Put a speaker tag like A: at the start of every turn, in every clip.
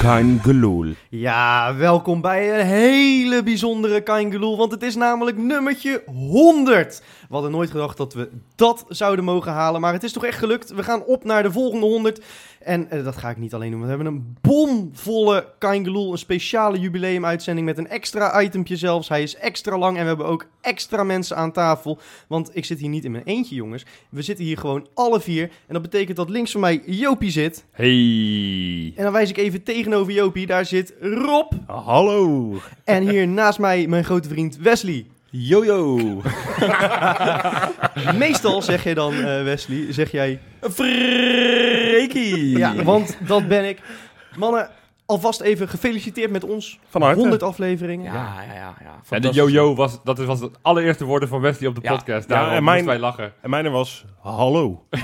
A: Kein Geloel.
B: Ja, welkom bij een hele bijzondere Kaingeloel, want het is namelijk nummertje 100. We hadden nooit gedacht dat we dat zouden mogen halen, maar het is toch echt gelukt. We gaan op naar de volgende 100. En eh, dat ga ik niet alleen doen, want we hebben een bomvolle Kaingeloel, een speciale jubileumuitzending met een extra itempje zelfs. Hij is extra lang en we hebben ook extra mensen aan tafel, want ik zit hier niet in mijn eentje, jongens. We zitten hier gewoon alle vier en dat betekent dat links van mij Jopie zit.
A: Hey.
B: En dan wijs ik even tegenover Jopie, daar zit Rob.
A: Hallo.
B: En hier naast mij mijn grote vriend Wesley.
A: Jojo.
B: Meestal zeg jij dan, eh, Wesley, zeg jij...
A: Freekie.
B: Ja, want dat ben ik. Mannen, alvast even gefeliciteerd met ons.
A: Van harte.
B: 100 afleveringen.
C: Ja, ja, ja. ja.
D: Ja, de
C: Fantastisch.
D: jojo was, dat was het allereerste woorden van Wesley op de
C: Ja.
D: podcast.
A: Ja,
D: Daarom
A: en mijn-
D: moesten wij lachen.
A: En mijne was hallo.
C: We,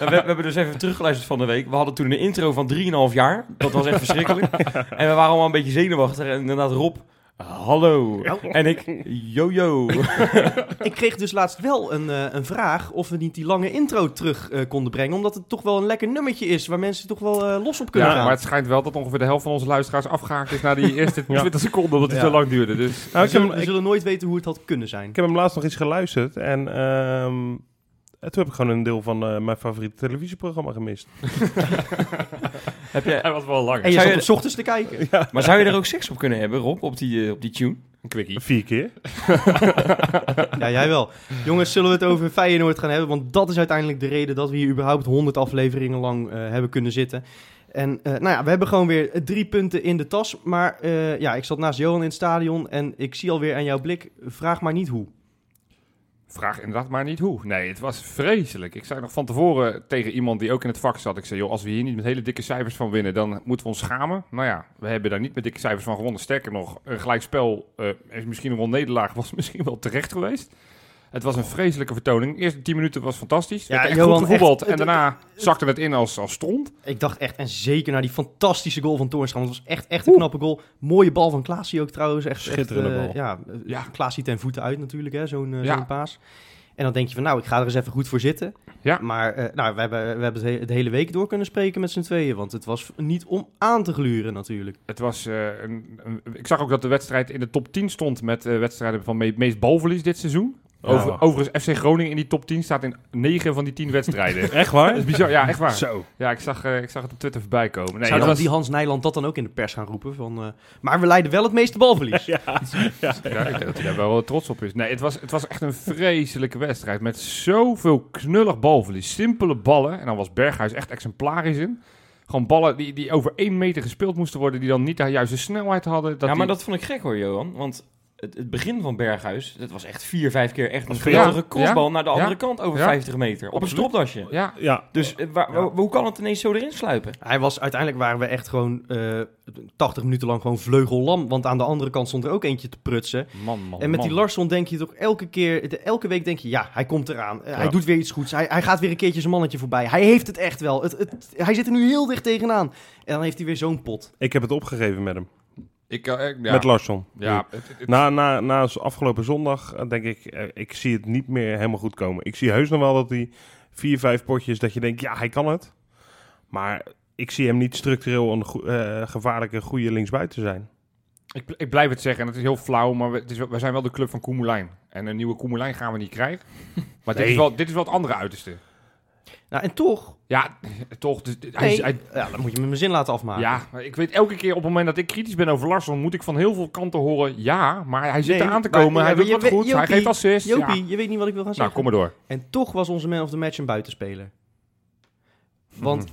C: we hebben dus even teruggeluisterd van de week. We hadden toen een intro van 3,5 jaar. Dat was echt verschrikkelijk. En we waren allemaal een beetje zenuwachtig. En inderdaad, Rob, hallo. En ik, jojo.
B: Ik kreeg dus laatst wel een, eh, een vraag of we niet die lange intro terug eh, konden brengen. Omdat het toch wel een lekker nummertje is waar mensen toch wel eh, los op kunnen
D: Ja,
B: gaan.
D: maar het schijnt wel dat ongeveer de helft van onze luisteraars afgehaakt is na die eerste
A: Ja.
D: 20 seconden, omdat het
B: Ja.
D: zo lang duurde. Dus
A: Nou,
B: we,
A: ik, heb,
B: zullen, we
A: hem- ik,
B: zullen nooit weten hoe het had kunnen zijn.
A: ik heb hem laatst nog eens geluisterd en ehm, en toen heb ik gewoon een deel van eh, mijn favoriete televisieprogramma gemist.
C: Heb jij,
D: hij was wel lang.
B: En je
C: Zou
B: zat
C: je-
B: op 's ochtends te kijken.
C: maar zou je er ook seks op kunnen hebben, Rob, op die, eh, op die tune?
D: Een quickie.
A: Vier keer.
B: Ja, jij wel. Jongens, zullen we het over Feyenoord gaan hebben? Want dat is uiteindelijk de reden dat we hier überhaupt 100 afleveringen lang eh, hebben kunnen zitten. En eh, nou ja, we hebben gewoon weer eh, drie punten in de tas. Maar eh, ja, ik zat naast Johan in het stadion en ik zie alweer aan jouw blik, vraag maar niet hoe.
D: Vraag inderdaad maar niet hoe. Nee, het was vreselijk. Ik zei nog van tevoren tegen iemand die ook in het vak zat. Ik zei, joh, als we hier niet met hele dikke cijfers van winnen, dan moeten we ons schamen. Nou ja, we hebben daar niet met dikke cijfers van gewonnen. Sterker nog, een gelijkspel eh, is misschien nog wel een nederlaag, was misschien wel terecht geweest. Het was een vreselijke vertoning. De eerste 10 minuten was fantastisch.
B: Ja,
D: Ja, echt
B: Johan,
D: goed gevoetbald.
B: echt,
D: en daarna zakte het in als, als stront.
B: Ik dacht echt, en zeker naar die fantastische goal van Toornstra. want het was echt, echt een knappe goal. Mooie bal van Klaasie ook trouwens. Echt,
A: Schitterende
B: echt, eh,
A: bal.
B: Ja, eh,
D: Ja.
B: Klaasie ten voeten uit natuurlijk, hè, zo'n eh,
D: Ja.
B: zo'n paas. En dan denk je van, nou, ik ga er eens even goed voor zitten.
D: Ja.
B: Maar eh, nou, we hebben, we hebben het, he- het hele week door kunnen spreken met z'n tweeën. Want het was niet om aan te gluren natuurlijk.
D: Het was, eh, een, een- ik zag ook dat de wedstrijd in de top 10 stond met eh, wedstrijden van me- meest balverlies dit seizoen. Over,
B: Oh.
A: Ja.
D: Overigens, FC Groningen in die top 10 staat in 9 van die 10 wedstrijden.
A: Echt
D: Dat
A: waar?
D: is bizar, ja, echt waar.
A: Zo.
D: Ja, ik zag, eh, ik zag het op Twitter voorbij komen. Nee,
B: Zou dan
D: dat
B: die
D: was,
B: Hans Nijland dat dan ook in de pers gaan roepen? Van, eh, maar we leiden wel het meeste balverlies.
D: ja, ik denk dat hij daar wel trots op is. Nee, het was, het was echt een vreselijke wedstrijd met zoveel knullig balverlies. Simpele ballen, en dan was Berghuis echt exemplarisch in. Gewoon ballen die, die over één meter gespeeld moesten worden, die dan niet de juiste snelheid hadden. Dat
C: ja, maar
D: die-
C: dat vond ik gek hoor, Johan. Want het, het begin van Berghuis, dat was echt vier, vijf keer echt een
D: voor jou.
C: geweldige crossbal
D: Ja.
C: naar de andere
D: Ja.
C: kant over
D: Ja.
C: 50 meter. Op een
D: Absoluut.
C: stropdasje.
D: Ja,
A: Ja.
C: Dus eh, waar- waar- hoe kan het ineens zo erin sluipen?
B: Hij was, uiteindelijk waren we echt gewoon eh 80 minuten lang gewoon vleugellam. Want aan de andere kant stond er ook eentje te prutsen.
D: man, man,
B: En met
D: Oh, man.
B: die Larsson denk je toch elke keer, de- elke week denk je, ja, hij komt eraan. Eh, Hij
A: Ja.
B: doet weer iets goeds. Hij, hij gaat weer een keertje zijn mannetje voorbij. Hij heeft het echt wel. Het, het, hij zit er nu heel dicht tegenaan. En dan heeft hij weer zo'n pot.
A: Ik heb het opgegeven met hem.
D: Ik, eh, ik- ja,
A: Met Nou- Larsson.
D: ja, het- het- het-
A: Na, na, na z- afgelopen zondag eh, denk ik, eh, ik zie het niet meer helemaal goed komen. Ik zie heus nog wel dat hij vier, vijf potjes, dat je denkt, ja, hij kan het. Maar ik zie hem niet structureel een goe- eh, gevaarlijke, goede linksbuiten zijn.
D: Ik, ik blijf het zeggen, en het is heel flauw, maar we, het is, wel- we zijn wel de club van Koemelijn. En een nieuwe Koemelijn gaan we niet krijgen. Maar dit,
A: Nee.
D: is wel, dit is wel het andere uiterste.
B: Nou, en toch,
D: Ja, toch. Dus, dit- hij,
B: nee,
D: hij-
B: ja, dan moet je me mijn zin laten afmaken.
D: ja, maar ik weet elke keer op het moment dat ik kritisch ben over Larsson, moet ik van heel veel kanten horen, ja, maar hij zit
B: Nee,
D: eraan te
B: maar-
D: komen,
B: ja,
D: hij
B: maar
D: doet
B: je
D: wat
B: weet-
D: goed, hij
B: Jopie,
D: geeft assist. ja.
B: Jopie, je weet niet wat ik wil gaan
D: Nou,
B: zeggen.
D: kom maar door.
B: En toch was onze man of the match een buitenspeler. Want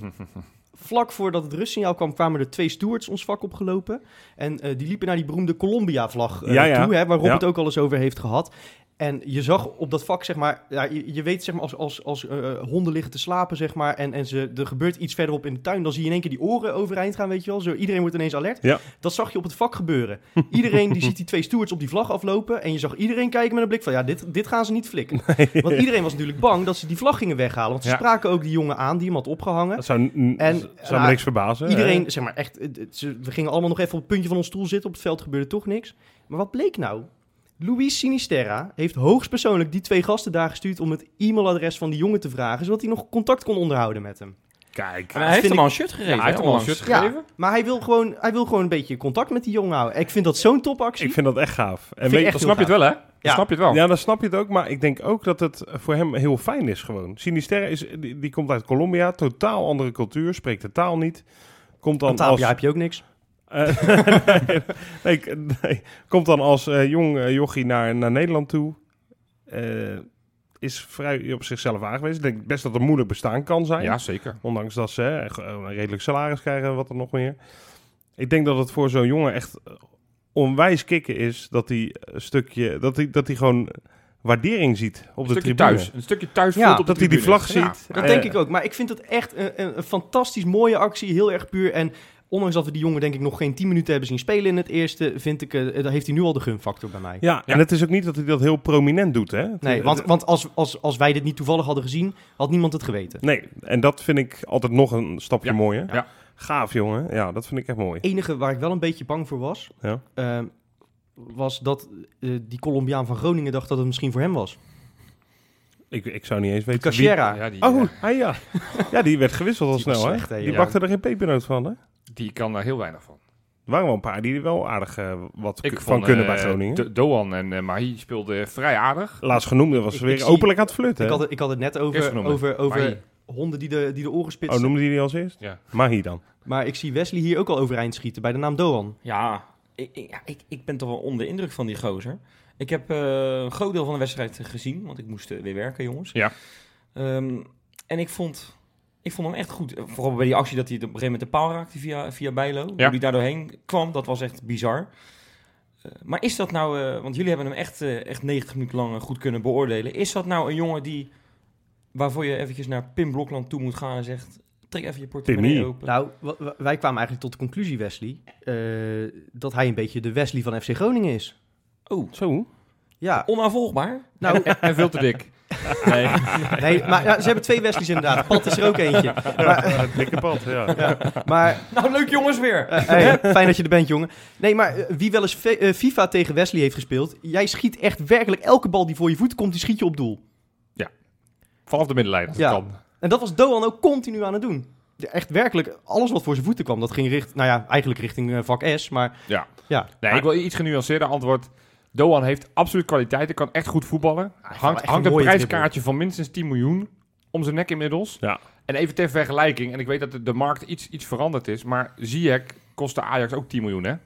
B: vlak voordat het rustsignaal kwam, kwamen er twee stewards ons vak opgelopen. En eh, die liepen naar die beroemde Colombia-vlag eh,
A: Ja, ja.
B: toe, hè, waar Rob
A: Ja.
B: het ook al eens over heeft gehad. En je zag op dat vak, zeg maar, ja, je, je weet zeg maar, als, als, als eh, honden liggen te slapen, zeg maar, en, en ze, er gebeurt iets verderop in de tuin, dan zie je in één keer die oren overeind gaan, weet je wel. Zo, iedereen wordt ineens alert.
A: Ja.
B: Dat zag je op het vak gebeuren. Iedereen die ziet die twee stewards op die vlag aflopen en je zag iedereen kijken met een blik van, ja, dit, dit gaan ze niet flikken. Want iedereen was natuurlijk bang dat ze die vlag gingen weghalen, want ze
D: Ja.
B: spraken ook die jongen aan die hem had opgehangen.
A: Dat zou, n-
B: En,
A: z- zou
B: nou,
A: me niks verbazen. hè?
B: Iedereen, zeg maar echt, het- het- ze- we gingen allemaal nog even op het puntje van ons stoel zitten. Op het veld gebeurde toch niks. Maar wat bleek nou? Luis Sinisterra heeft hoogstpersoonlijk die twee gasten daar gestuurd om het e-mailadres van die jongen te vragen, zodat hij nog contact kon onderhouden met hem.
D: Kijk.
C: hij heeft
B: vind
C: hem
B: ik-
C: al een shirt gegeven.
D: hij heeft
C: hè,
D: hem al een
C: onlangs.
D: shirt
B: Ja,
D: gegeven.
B: maar hij wil, gewoon, hij wil gewoon een beetje contact met die jongen houden. Ik vind dat zo'n topactie.
A: Ik vind dat echt gaaf.
B: Vind
A: En weet
B: ik
A: je-
B: echt
D: Dan snap je het wel, hè? Dan
B: Ja.
D: snap je het wel.
A: Ja, dan snap je het ook. Maar ik denk ook dat het voor hem heel fijn is gewoon. Sinisterre is, die, die komt uit Colombia. Totaal andere cultuur. Spreekt de taal niet. Komt dan
B: Aan tafel
A: als...
B: ja, heb je ook niks.
A: eh, nee, nee, ik- nee. komt dan als eh, jong eh, jochie naar, naar Nederland toe. Eh, is vrij op zichzelf aangewezen. Ik denk best dat het een moeilijk bestaan kan zijn.
D: Ja, zeker.
A: Ondanks dat ze hè, gewoon een redelijk salaris krijgen en wat er nog meer. Ik denk dat het voor zo'n jongen echt eh, onwijs kicken is dat hij een stukje dat hij dat hij gewoon waardering ziet op de
D: Een stukje
A: tribune.
D: thuis. Een stukje thuis
B: Ja,
D: voelt op de
A: dat hij die
D: tribune.
A: vlag
D: Ja.
A: ziet.
B: Dat
A: Eh,
B: denk ik ook. Maar ik vind het echt een, een, een fantastisch mooie actie. Heel erg puur. En ondanks dat we die jongen denk ik nog geen 10 minuten hebben zien spelen in het eerste, vind ik, eh, daar heeft hij nu al de gunfactor bij mij.
A: Ja, en het is ook niet dat hij dat heel prominent doet, hè?
B: Nee, want, want als, als, als wij dit niet toevallig hadden gezien, had niemand het geweten.
A: nee, en dat vind ik altijd nog een stapje
D: Ja,
A: mooier.
D: ja.
A: Gaaf, jongen. Ja, dat vind ik echt mooi.
B: Het enige waar ik wel een beetje bang voor was,
A: Ja.
B: ehm, was dat eh, die Colombiaan van Groningen dacht dat het misschien voor hem was.
A: Ik, ik zou niet eens weten
B: Cachera.
D: Ja, die,
A: wie... Oh,
D: eh,
A: ah, ja. ja, die werd gewisseld al
B: Die was
A: snel,
B: slecht, hè,
A: hè? Die
B: ja.
A: bakte er geen pepernoot van, hè?
D: die kan daar heel weinig van.
A: Er waren wel een paar die er wel aardig eh, wat
D: Ik
A: k- van
D: vond,
A: kunnen
D: eh,
A: bij Groningen.
D: Do- Doan en eh, Mahi speelden vrij aardig.
A: Laatst genoemde was
B: Ik- ik
A: weer
B: zie-
A: openlijk aan het flirten.
B: Ik
A: hè?
B: had, het- ik had het net
D: Eerst
B: over,
D: genoemd.
B: over, over
D: Mahi.
B: honden die de, die de oren
A: Oh,
B: spitsen.
A: noemde hij die als eerst?
D: Ja.
A: Mahi dan.
B: maar ik zie Wesley hier ook al overeind schieten bij de naam Doan.
C: Ja, ik, ik, ja, ik, ik ben toch wel onder de indruk van die gozer. Ik heb eh, een groot deel van de wedstrijd gezien, want ik moest eh, weer werken, jongens.
D: Ja.
C: Ehm, en ik vond, ik vond hem echt goed. Eh, Vooral bij die actie dat hij op een gegeven moment de paal raakte via, via Bijlo. Hoe hij daar doorheen kwam, dat was echt bizar. Eh, maar is dat nou, eh, want jullie hebben hem echt, eh, echt 90 minuten lang eh, goed kunnen beoordelen. Is dat nou een jongen die, waarvoor je eventjes naar Pim Blokland toe moet gaan en zegt... Trek even je portemonnee
A: Timmy.
C: open.
B: Nou, wa- wa- wij kwamen eigenlijk tot de conclusie, Wesley, eh, dat hij een beetje de Wesley van FC Groningen is.
C: oh,
A: Zo?
B: Ja,
C: onaanvolgbaar.
B: nou,
D: En veel te dik. nee.
B: nee, maar ja, ze hebben twee Wesleys inderdaad. Pat is er ook eentje. Maar,
A: het dikke pad, ja.
B: maar
C: Nou, leuk jongens weer.
B: Eh, hey, fijn dat je er bent, jongen. Nee, maar eh, wie wel eens fe- eh, FIFA tegen Wesley heeft gespeeld, jij schiet echt werkelijk elke bal die voor je voet komt, die schiet je op doel.
D: Vanaf de middenlijn, als
B: Ja.
D: het kan.
B: En dat was Doan ook continu aan het doen. Ja, Echt werkelijk, alles wat voor zijn voeten kwam, dat ging richt, nou ja, eigenlijk richting eh, vak S, maar
D: Nee,
A: Ah,
D: ik wil iets genuanceerder antwoord. Doan heeft absoluut kwaliteiten, kan echt goed voetballen.
B: wel
D: Hangt,
B: echt
D: hangt
B: een
D: een
B: mooie
D: prijskaartje van minstens 10 miljoen om zijn nek inmiddels.
A: Ja.
D: En even ter vergelijking, en ik weet dat de, de markt iets, iets veranderd is, maar Ziyech kostte Ajax ook 10 miljoen, hè? En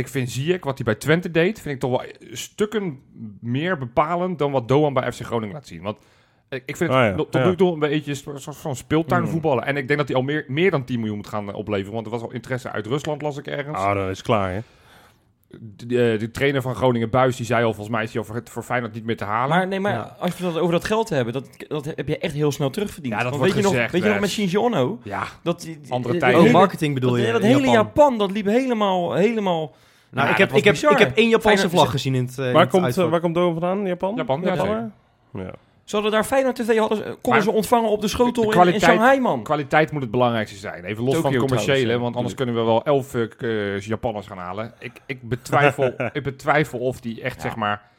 D: ik vind Ziyech, wat hij bij Twente deed, vind ik toch wel stukken meer bepalend dan wat Doan bij FC Groningen laat zien. Want eh, ik ik vind het
A: Ah, ja.
D: tot tot
A: Ja.
D: nu toe een beetje zo- zo- zo'n speeltuin
A: Hmm.
D: voetballen. En ik denk dat hij al meer, meer dan 10 miljoen moet gaan eh, opleveren, want er was al interesse uit Rusland, las ik ergens
A: Ah, dan is het klaar, hè?
D: de, de- de trainer van Groningen Buis die zei al volgens mij is hij al voor, het- voor Feyenoord niet meer te halen.
C: Maar nee, maar
B: Ja.
C: als je het over dat geld te hebben, dat, dat heb je echt heel snel terugverdiend.
D: Ja, dat
C: Want
D: wordt
C: weet je nog,
D: gezegd,
C: weet je nog
D: Wes.
C: met Shinji Ono?
D: ja,
C: Dat, die- die-
D: Andere
C: dat
D: tijden.
C: hele-
B: oh, marketing bedoel
C: dat,
B: je.
C: dat
B: in
C: hele
B: Japan.
C: Japan. dat liep helemaal, helemaal...
B: Nou,
C: Ja,
B: ik,
C: dat
B: heb,
C: was
B: ik, heb,
C: bizar.
B: ik heb één Japanse
C: Feyenoord-
B: vlag gezien in het, eh, in
A: Waar
B: het
A: komt, eh,
B: uitvak.
A: waar komt Doan vandaan? Japan?
D: Japan, ja,
A: Japannen? ja.
C: Ze hadden daar 25 hadden, ze- konden
D: Maar-
C: ze ontvangen op de schotel
D: De
C: in- in,
D: kwaliteit-
C: Shanghai, man.
D: kwaliteit moet het belangrijkste zijn. Even los
C: Tokio
D: van het commerciële,
C: trouwens, ja,
D: want anders kunnen we wel elf eh, k- eh, Japanners gaan halen. Ik, ik, betwijfel, ik betwijfel of die echt, zeg maar,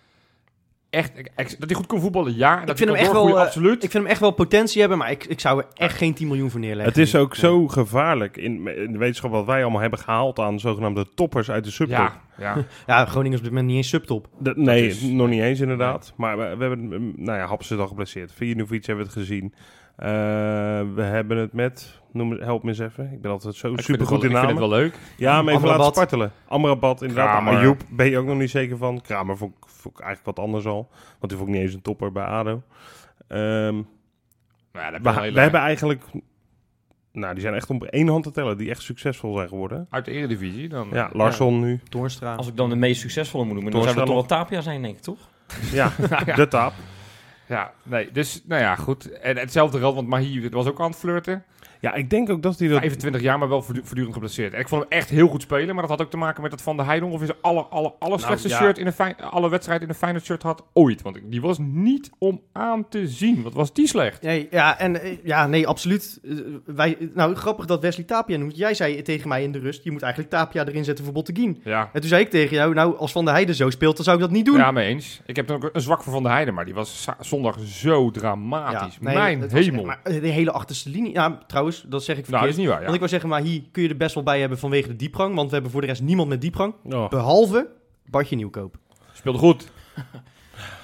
D: echt, ik- ik- dat hij goed kan voetballen, ja. En dat
B: vind
D: hij
B: hem
D: kan
B: echt
D: doorgroeien,
B: wel, eh,
D: absoluut.
B: Ik vind hem echt wel potentie hebben, maar ik, ik zou er echt geen 10 miljoen voor neerleggen.
A: Het is ook zo gevaarlijk in, in de wetenschap wat wij allemaal hebben gehaald aan zogenaamde toppers uit de subtop.
D: ja, ja.
B: Ja, Groningen is op dit moment niet eens subtop.
A: Dat- nee,
D: is-
A: nog niet eens inderdaad. Maar we, we hebben, mm, nou ja, Hapsen is al geblesseerd. Vijanovic hebben we het gezien. Eh, we hebben het met, noem, help me eens even. Ik ben altijd
D: Ik
A: zo
D: vind het
A: supergoed
D: wel-
A: in namen.
D: Ik vind het wel leuk.
A: Ja, maar even laten
B: Amrabat.
A: spartelen. Amrabat, inderdaad.
D: Kramer.
A: Ayoub ben je ook nog niet zeker van. Kramer vond ik, vond ik eigenlijk wat anders al. Want die vond ik niet eens een topper bij ADO. Ehm,
D: Nou, ja, dat heb je wel
A: we,
D: heel
A: we
D: leuk.
A: hebben eigenlijk... Nou, die zijn echt op één hand te tellen. Die echt succesvol zijn geworden.
D: Uit de eredivisie dan.
A: Ja, Larsson nu.
B: Doornstra.
C: Als ik dan de meest succesvolle moet noemen, dan zou
A: Doorstaan
C: dat toch wel Tapia zijn, denk ik, toch?
A: Ja, de taap.
D: Ja, nee, dus, nou ja, goed. En hetzelfde geldt, want Mahi was ook aan het flirten.
A: Ja, ik denk ook dat die dat...
D: 25 jaar, maar wel voortdu- voortdurend geblesseerd. En ik vond hem echt heel goed spelen, maar dat had ook te maken met dat Van de Heijden ongeveer zijn alle, alle, alle slechtste
A: ja.
D: shirt in een fijn, alle wedstrijd in een fijne shirt had ooit. Want die was niet om aan te zien. Wat was die slecht?
B: Nee, ja, en, eh, ja, nee, absoluut. Eh, wij, nou, grappig dat Wesley Tapia noemt. Jij zei tegen mij in de rust, je moet eigenlijk Tapia erin zetten voor Botteguin.
D: Ja,
B: En toen zei ik tegen jou, nou, als Van der Heijden zo speelt, dan zou ik dat niet doen.
D: ja mee eens. Ik heb dan ook een zwak voor Van de Heijden, maar die was za- zondag zo dramatisch.
B: Ja, nee,
D: Mijn
B: het was-
D: hemel.
B: maar de hele achterste linie. Ja, trouwens, trouwens, dat zeg ik
D: Nou, dat
B: verkeerd.
D: is niet waar.
B: Want
D: Ja.
B: ik wil zeggen, maar hier kun je er best wel bij hebben vanwege de diepgang. Want we hebben voor de rest niemand met diepgang.
A: Oh.
B: Behalve Bartje Nieuwkoop.
D: Speelde goed.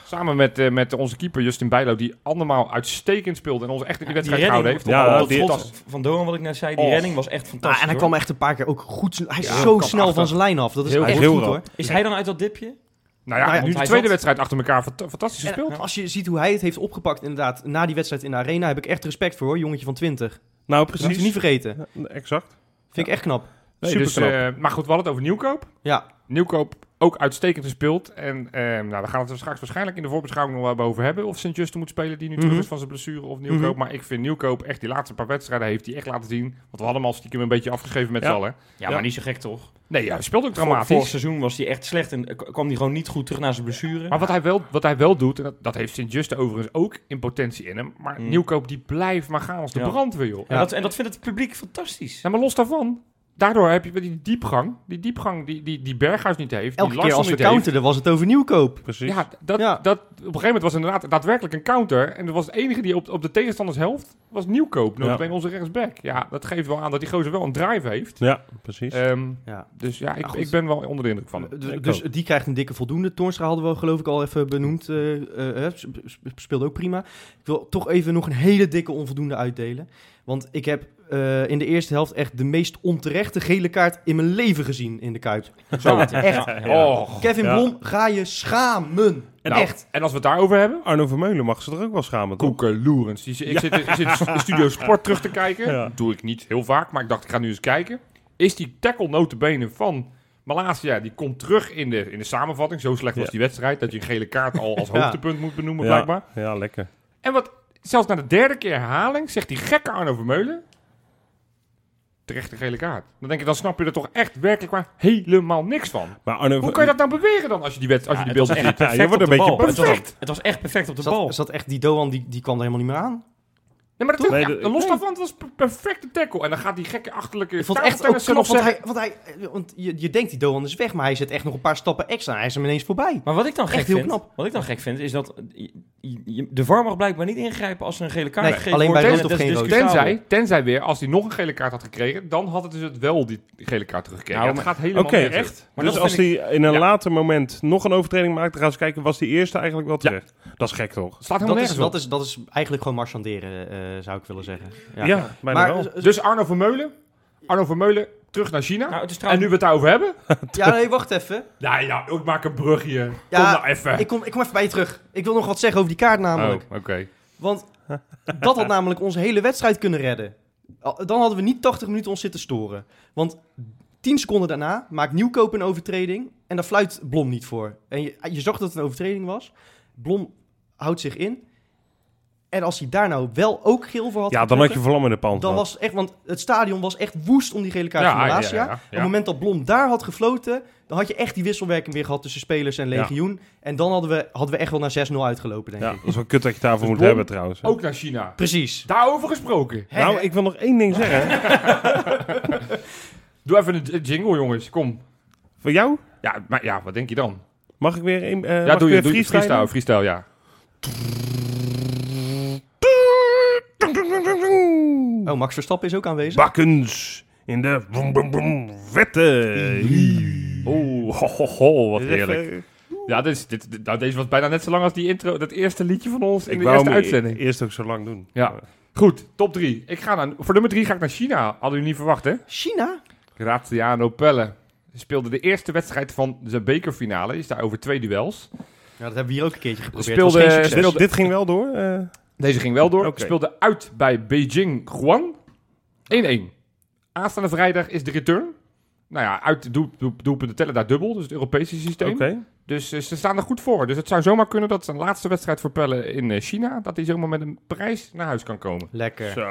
D: Samen met, eh, met onze keeper Justin Bijlo, die andermaal uitstekend speelde en ons echt in die wedstrijd gehouden heeft.
A: Ja,
D: Op-
A: dat
D: op-
A: die-
D: fantastisch.
C: Van Doan, wat ik net zei, die
D: Och.
C: redding was echt
B: Ah,
C: fantastisch.
B: en hij
C: hoor.
B: kwam echt een paar keer ook goed. sn- Hij is
D: Ja,
B: zo
D: kan
B: snel
D: achter.
B: van zijn lijn af. Dat is
D: Heel
B: echt
A: goed.
B: goed
A: Heel
B: hoor.
C: Is hij dan uit dat dipje?
D: Nou ja,
B: Nou ja,
D: nu
C: want
D: de
C: hij
D: tweede
C: zat-
D: wedstrijd achter elkaar. fant- Fantastisch
B: En
D: gespeeld.
B: als je ziet hoe hij het heeft opgepakt inderdaad na die wedstrijd in de arena, heb ik echt respect voor hoor. Jongetje van 20.
A: Nou,
B: Dat moet
A: precies.
B: je niet vergeten. Vind
A: Ja, exact.
B: ik echt knap.
D: Nee,
A: Super
D: dus,
A: knap.
D: eh, maar goed, we hadden het over Nieuwkoop.
B: Ja.
D: Nieuwkoop ook uitstekend gespeeld. En eh, nou, we gaan het er straks waarschijnlijk in de voorbeschouwing nog wel even over hebben. Of Sint-Justen moet spelen, die nu terug
B: Mhm.
D: is van zijn blessure, of Nieuwkoop.
B: Mhm.
D: Maar ik vind Nieuwkoop echt die laatste paar wedstrijden heeft hij echt laten zien. Want we hadden hem al stiekem een beetje afgeschreven met
A: Ja.
D: z'n allen.
C: Ja,
A: Ja.
C: maar niet zo gek toch?
D: Nee, ja, hij speelt ook
C: Vor- Vorig
D: dramatisch.
C: seizoen was hij echt slecht en eh, k- kwam hij gewoon niet goed terug naar zijn blessure.
D: Maar wat hij wel, wat hij wel doet, en dat, dat heeft Sint-Justen overigens ook in potentie in hem. Maar
C: Mm.
D: Nieuwkoop die blijft maar gaan als de
C: Ja.
D: brandweer, joh.
C: en,
B: Ja.
C: dat, en dat vindt het publiek fantastisch.
D: Ja, maar los daarvan, daardoor heb je weer die diepgang, die diepgang die, die, die Berghuis niet heeft,
B: Elke
D: die
B: keer
D: Larsson
B: als we
D: niet heeft.
B: counterden was het over Nieuwkoop.
A: Precies.
D: Ja, dat,
B: Ja.
D: Dat, op een gegeven moment was inderdaad daadwerkelijk een counter. En dat was het enige die op, op de tegenstanders helft was Nieuwkoop.
A: Ja.
D: Ja. bij onze rechtsback. Ja, dat geeft wel aan dat die gozer wel een drive heeft.
A: Ja, precies.
D: Ehm,
B: Ja.
D: dus ja, ik,
B: goed.
D: ik ben wel onder de indruk van hem.
B: D-
A: Ik
B: Dus die krijgt een dikke voldoende. Toornstra hadden we geloof ik al even benoemd. eh, eh, eh, sp- sp- speelde ook prima. Ik wil toch even nog een hele dikke onvoldoende uitdelen. Want ik heb eh, in de eerste helft echt de meest onterechte gele kaart in mijn leven gezien in de Kuip.
C: Zo, echt.
D: Och.
B: Kevin
A: Ja.
B: Blom, ga je schamen.
D: Oh. Nou,
B: echt.
D: En als we het daarover hebben...
A: Arno Vermeulen mag ze er ook wel schamen, toch?
D: Koeken Loerens. Die, ik zit, ik zit in Studio Sport terug te kijken.
A: Ja.
D: Dat doe ik niet heel vaak, maar ik dacht, ik ga nu eens kijken. Is die tackle notenbenen van Malasia, die komt terug in de, in de samenvatting. Zo slecht was
A: Ja.
D: die wedstrijd, dat je een gele kaart al als
B: Ja.
D: hoogtepunt moet benoemen,
A: Ja.
D: blijkbaar.
A: Ja, lekker.
D: En wat, zelfs na de derde keer herhaling, zegt die gekke Arno Vermeulen... Terecht een gele kaart. Dan denk ik, dan snap je er toch echt werkelijk maar helemaal niks van.
A: Maar Arno
D: Hoe kan je dat nou beweren dan als je die, wed- als je
C: Ja,
D: die
C: het
D: beelden
C: was
D: ziet?
C: echt
A: Ja, je
C: perfect
A: wordt
C: op
A: een
C: de
A: beetje
C: bal. Het was-
D: perfect.
C: Het was echt perfect op de bal.
B: Zat, zat echt die Doan, die, die kwam er helemaal niet meer aan.
D: Nee, maar dat,
A: Nee,
D: ja,
A: dat-
D: los
A: nee.
D: daarvan, het was een perfecte tackle. En dan gaat die gekke achterlijke...
B: Ik vond het echt ook
D: tafeltennis er
B: knap,
D: nog
B: want,
D: zeggen-
B: hij, want, hij, eh, want je, je denkt die Doan is weg, maar hij zet echt nog een paar stappen extra. en Hij is hem ineens voorbij.
C: Maar wat ik dan gek
B: Echt heel
C: vind,
B: knap.
C: wat ik dan gek vind, is dat je- je- de VAR mag blijkbaar niet ingrijpen als er een gele kaart
B: Nee,
C: gegeven
B: alleen
C: wordt.
B: bij
C: En
B: rood
C: dat
B: of
C: is
B: geen rood.
C: discutabel.
D: Tenzij, tenzij weer, als hij nog een gele kaart had gekregen, dan had het dus het wel die gele kaart teruggekregen.
C: Nou,
D: het
C: maar-
D: gaat helemaal
A: Oké,
D: nergens.
A: echt.
C: Maar
A: dus
C: dat
A: als
C: vind
A: hij in een
D: Ja.
A: later moment nog een overtreding maakt, dan gaan ze kijken, was die eerste eigenlijk wel terecht? Dat is gek, toch?
D: Het slaat
B: Dat
D: helemaal
B: is,
D: nergens op.
B: dat, is, dat is eigenlijk gewoon marchanderen, eh, zou ik willen zeggen.
A: Ja, bijna
B: Maar,
A: wel.
B: eh,
D: Dus Arno Vermeulen, Arno Vermeulen, terug naar China.
C: Nou, het is
D: en nu
C: trouwens,
D: we het daarover hebben...
B: eh, Ja, nee, wacht even.
D: Nou ja, ik maak een brugje.
B: Ja,
D: Kom nou even. Oh,
B: Ik kom, ik kom even bij je terug. Ik wil nog wat zeggen over die kaart namelijk.
D: oké.
B: Want dat had namelijk onze hele wedstrijd kunnen redden. Al- Dan hadden we niet 80 minuten ons zitten storen. Want 10 seconden daarna maakt Nieuwkoop een overtreding. En daar fluit Blom niet voor. En je, je zag dat het een overtreding was. Blom houdt zich in. En als hij daar nou wel ook geel voor had
A: ja, dan had je
B: getrokken,
A: vlam in de pand.
B: dan
A: gehad.
B: was echt, want het stadion was echt woest om die gele kaart van Malasia. Op het moment dat Blom daar had gefloten, dan had je echt die wisselwerking weer gehad tussen spelers en legioen. En dan hadden we, hadden we echt wel naar 6-0 uitgelopen, denk
A: Ja,
B: ik.
A: dat is wel kut dat je daarvoor
D: Dus
A: moet
D: Blom
A: hebben, trouwens.
D: Ook naar China.
B: Precies.
D: Daarover gesproken.
B: Hè?
A: Nou, ik wil nog één ding zeggen.
D: Doe even een j- jingle, jongens. Kom.
A: Voor jou?
D: Ja, maar ja, wat denk je dan?
A: Mag ik weer een eh
D: ja,
A: mag
D: doe
A: ik
D: je
A: weer
D: doe je freestyle.
A: freestylen?
D: Freestyle, ja.
B: Oh, Max Verstappen is ook aanwezig.
A: Bakkens in de boem, boem, boem, wetten. Oh,
D: Oeh, ho, ho, ho, wat
A: Dit is echt,
D: heerlijk.
A: eh,
D: Ja, dit, is- dit, dit- nou, deze was bijna net zo lang als die intro, dat eerste liedje van ons in
A: Ik
D: de
A: wou
D: eerste
A: hem
D: uitzending.
A: e- eerst ook zo lang doen.
D: Ja. Goed, top 3. Ik ga naar, voor nummer 3 ga ik naar China. Hadden jullie niet verwacht, hè?
B: China?
D: Graziano Pelle speelde de eerste wedstrijd van zijn bekerfinale. Is daar over twee duels.
B: Ja, dat hebben we hier ook een keertje geprobeerd.
D: Speelde-
B: was geen succes.
A: Dit,
D: Speelde-
A: dit ging wel door. eh.
D: Deze ging wel door.
A: Oké.
D: Speelde uit bij Beijing Guan. 1-1. Aanstaande vrijdag is de return. Nou ja, uit de doel- doel- doelpunten tellen daar dubbel. Dus het Europese systeem.
A: Oké.
D: Dus eh, ze staan er goed voor. Dus het zou zomaar kunnen dat zijn laatste wedstrijd voor Pelle in eh, China... dat hij zomaar met een prijs naar huis kan komen.
B: Lekker.
A: Zo.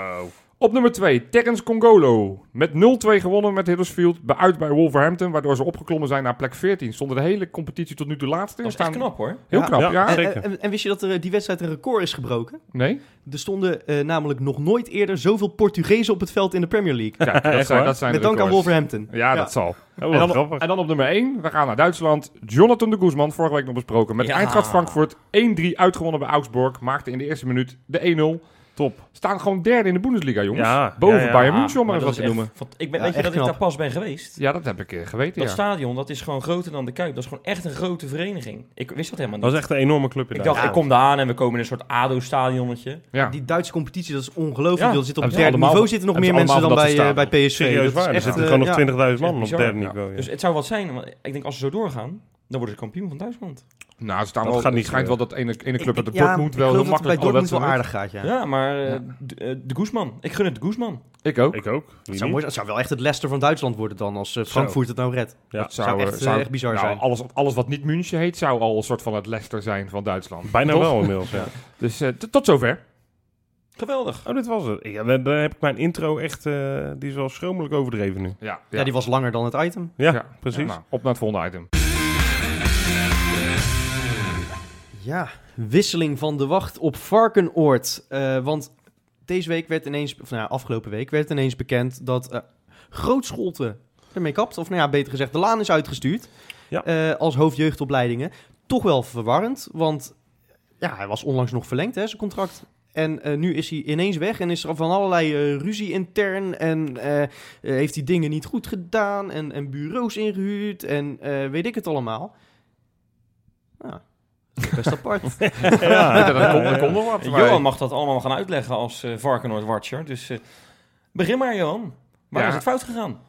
D: Op nummer 2, Terence Congolo. Met 0-2 gewonnen met Huddersfield. Bij uit bij Wolverhampton, waardoor ze opgeklommen zijn naar plek 14. Stonden de hele competitie tot nu toe laatste.
C: dat is
D: Staan
C: echt knap hoor.
D: Heel
B: Ja.
D: knap, ja.
A: Ja.
B: En,
A: zeker.
B: en- en wist je dat er eh, die wedstrijd een record is gebroken?
D: Nee?
B: Er stonden eh, namelijk nog nooit eerder zoveel Portugezen op het veld in de Premier League.
D: Kijk, dat,
A: Echt
D: zijn,
A: waar?
D: dat zijn
B: Met
D: de
B: dank aan
D: records.
B: Wolverhampton.
D: Ja, dat zal.
A: Oh,
D: En
A: wat
D: dan,
A: grappig.
D: en dan op nummer 1, we gaan naar Duitsland. Jonathan de Guzman, vorige week nog besproken. Met
C: Ja.
D: Eintracht Frankfurt 1-3 uitgewonnen bij Augsburg. Maakte in de eerste minuut de 1-0.
A: Top.
D: Staan gewoon derde in de Bundesliga, jongens.
A: Ja,
D: Boven
A: ja, ja.
D: Bayern München, om maar
C: maar
D: eens
C: dat
D: wat
C: is
D: te
C: echt
D: noemen.
C: fant- Ik ben,
B: Ja,
C: weet je
B: echt
C: dat ik
B: knap.
C: daar pas ben geweest?
D: Ja, dat heb ik eh, geweten,
C: Dat
D: ja.
C: stadion, dat is gewoon groter dan de Kuip. Dat is gewoon echt een grote vereniging. Ik wist dat helemaal
A: Dat
C: niet.
A: was echt een enorme club
C: Ik
A: inderdaad.
C: dacht, ik kom daar aan en we komen in een soort ADO-stadionnetje.
D: ja.
B: Die Duitse competitie, dat is ongelooflijk.
C: Ja,
B: Dat zit op
D: hebben
B: het
D: ze
B: derde
D: allemaal-
B: niveau zitten nog meer
D: hebben ze
B: mensen dan
D: allemaal
B: bij,
D: dat
B: eh, bij
D: verstaan.
B: PSV.
A: Serieus
B: dat is
A: waar, er
B: echt,
A: zitten
B: eh,
A: gewoon
B: ja.
A: nog 20.000 man op
C: echt
A: het
C: bizar,
A: derde
D: ja.
A: niveau. ja.
C: Dus het zou wat zijn, want ik denk als ze zo doorgaan, dan worden ze kampioen van Duitsland.
D: Nou, ze staan
A: Dat
D: wel,
A: gaat
D: gaat
A: niet
D: niet schijnt wel dat ene, ene club uit de
B: Ja,
D: Dortmund wel
B: ik
D: heel
B: geloof dat
D: makkelijk
B: het bij Dortmund wel
D: alle wedstrijden
B: aardig gaat, ja.
C: Ja, maar eh,
D: Ja.
C: d- eh, de Guzman. Ik gun het de Guzman.
D: wint. Ik ook.
A: Ik ook. Wie
B: Het zou,
A: niet?
B: mooi, het zou wel echt het Leicester van Duitsland worden dan, als eh, Frankfurt het nou redt.
A: Ja.
D: Dat
B: zou echt,
D: eh,
B: eh, echt bizar
D: nou,
B: zijn.
D: Alles, alles wat niet München heet, zou al een soort van het Leicester zijn van Duitsland.
A: Bijna
D: Toch?
A: wel inmiddels, ja.
D: Dus eh, t- tot zover.
C: Geweldig.
A: Oh, dit was het. Ja, dan, dan heb ik mijn intro echt, eh, die is wel schromelijk overdreven nu.
D: Ja,
B: Ja. die was langer dan het item.
A: Ja,
D: Ja.
A: precies.
D: Nou, op naar het volgende item.
B: Ja, wisseling van de wacht op Varkenoord. Eh, want deze week werd ineens, of nou ja, afgelopen week werd ineens bekend dat eh Grootscholte ermee kapt. Of nou ja, beter gezegd, de laan is uitgestuurd
A: Ja.
B: eh, als hoofdjeugdopleidingen. Toch wel verwarrend, want ja, hij was onlangs nog verlengd, hè, zijn contract. En eh, nu is hij ineens weg en is er van allerlei eh, ruzie intern. En eh, eh, heeft hij dingen niet goed gedaan en, en bureaus ingehuurd en eh, weet ik het allemaal. Nou, Ja, best apart.
A: Ja,
D: Ja, dat komt
A: ja,
D: dat
A: ja.
D: komt nog wat.
C: En
D: maar-
C: Johan mag dat allemaal gaan uitleggen als eh Varkenoord-watcher. Dus eh, begin maar, Johan. Waar
D: Ja.
C: is het fout gegaan?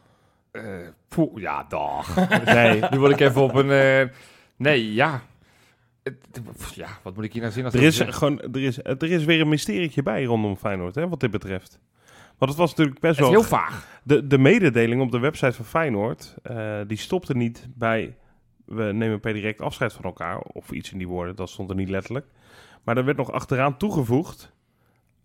D: Eh, poeh, ja, dag.
A: Nee,
D: nu word ik even op een... eh, nee, ja. Het- pff, Ja, wat moet ik hier nou zien als
A: er
D: ik-
A: is, gewoon, er, is, er is weer een mysterietje bij rondom Feyenoord, hè, wat dit betreft. Want het was natuurlijk best
D: Het is
A: wel...
D: heel vaag.
A: De, de mededeling op de website van Feyenoord, eh, die stopte niet bij we nemen per direct afscheid van elkaar of iets in die woorden, dat stond er niet letterlijk. Maar er werd nog achteraan toegevoegd,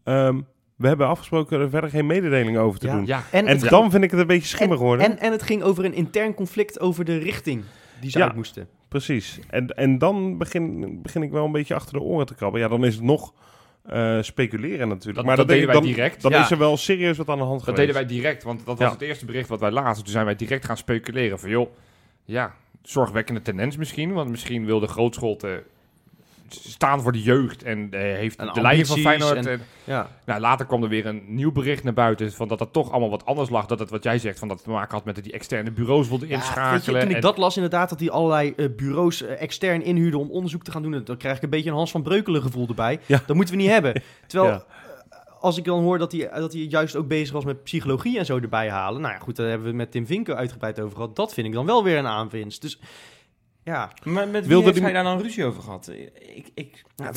A: ehm, we hebben afgesproken er verder geen mededeling over te
B: Ja.
A: doen.
D: Ja,
B: En,
A: En
B: het,
A: dan vind ik het een beetje schimmig worden.
B: en, en het ging over een intern conflict over de richting die ze
A: Ja.
B: uit moesten.
A: Precies. En, en dan begin, begin ik wel een beetje achter de oren te krabben. Ja, dan is het nog eh, speculeren natuurlijk.
D: Dat-
A: maar
D: dat
A: dan denk
D: deden
A: ik,
D: wij
A: dan,
D: direct.
A: Dan
B: Ja.
A: is er wel serieus wat aan de hand
D: Dat
A: geweest.
D: deden wij direct, want dat was
A: Ja.
D: het eerste bericht wat wij lazen. Toen zijn wij direct gaan speculeren van, joh, ja, zorgwekkende tendens misschien. Want misschien wil de grootscholte staan voor de jeugd en eh, heeft
B: En
D: de leiding van
B: ambities
D: Feyenoord.
B: en-
D: en-
B: Ja.
D: nou, later kwam er weer een nieuw bericht naar buiten van dat dat toch allemaal wat anders lag. Dat het wat jij zegt, van dat het te maken had met dat die externe bureaus wilden
B: Ja, weet je,
D: inschakelen.
B: toen ik
D: en-
B: dat las, inderdaad, dat die allerlei eh, bureaus eh, extern inhuurden om onderzoek te gaan doen, dan krijg ik een beetje een Hans van Breukelen gevoel erbij.
A: Ja.
B: Dat moeten we niet hebben. Terwijl,
A: Ja.
B: eh, als ik dan hoor dat hij, dat hij juist ook bezig was met psychologie en zo erbij halen, nou ja, goed, daar hebben we het met Tim Vinken uitgebreid over gehad. Dat vind ik dan wel weer een aanwinst. Dus ja,
C: Maar met wie
A: Wilde
C: heeft
A: die-
C: hij daar nou een ruzie over gehad? Ik, ik,
B: Nou, het
C: weet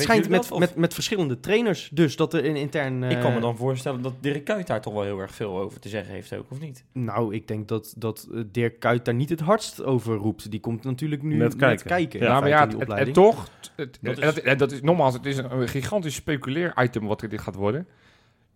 B: schijnt
C: jullie dat?
B: met,
C: Of-
B: met, met verschillende trainers dus, dat er in intern... eh,
C: Ik kan me dan voorstellen dat Dirk Kuyt daar toch wel heel erg veel over te zeggen heeft ook, of niet?
B: Nou, ik denk dat, dat eh, Dirk Kuyt daar niet het hardst over roept. Die komt natuurlijk nu
A: Net
B: net kijken.
A: kijken.
D: Ja, Nou, maar ja,
B: in die
D: het- het,
B: opleiding.
D: toch. Het,
C: Dat
D: dat,
C: is-
D: is, dat, en dat is nogmaals, het is een, een gigantisch speculeer-item wat dit gaat worden.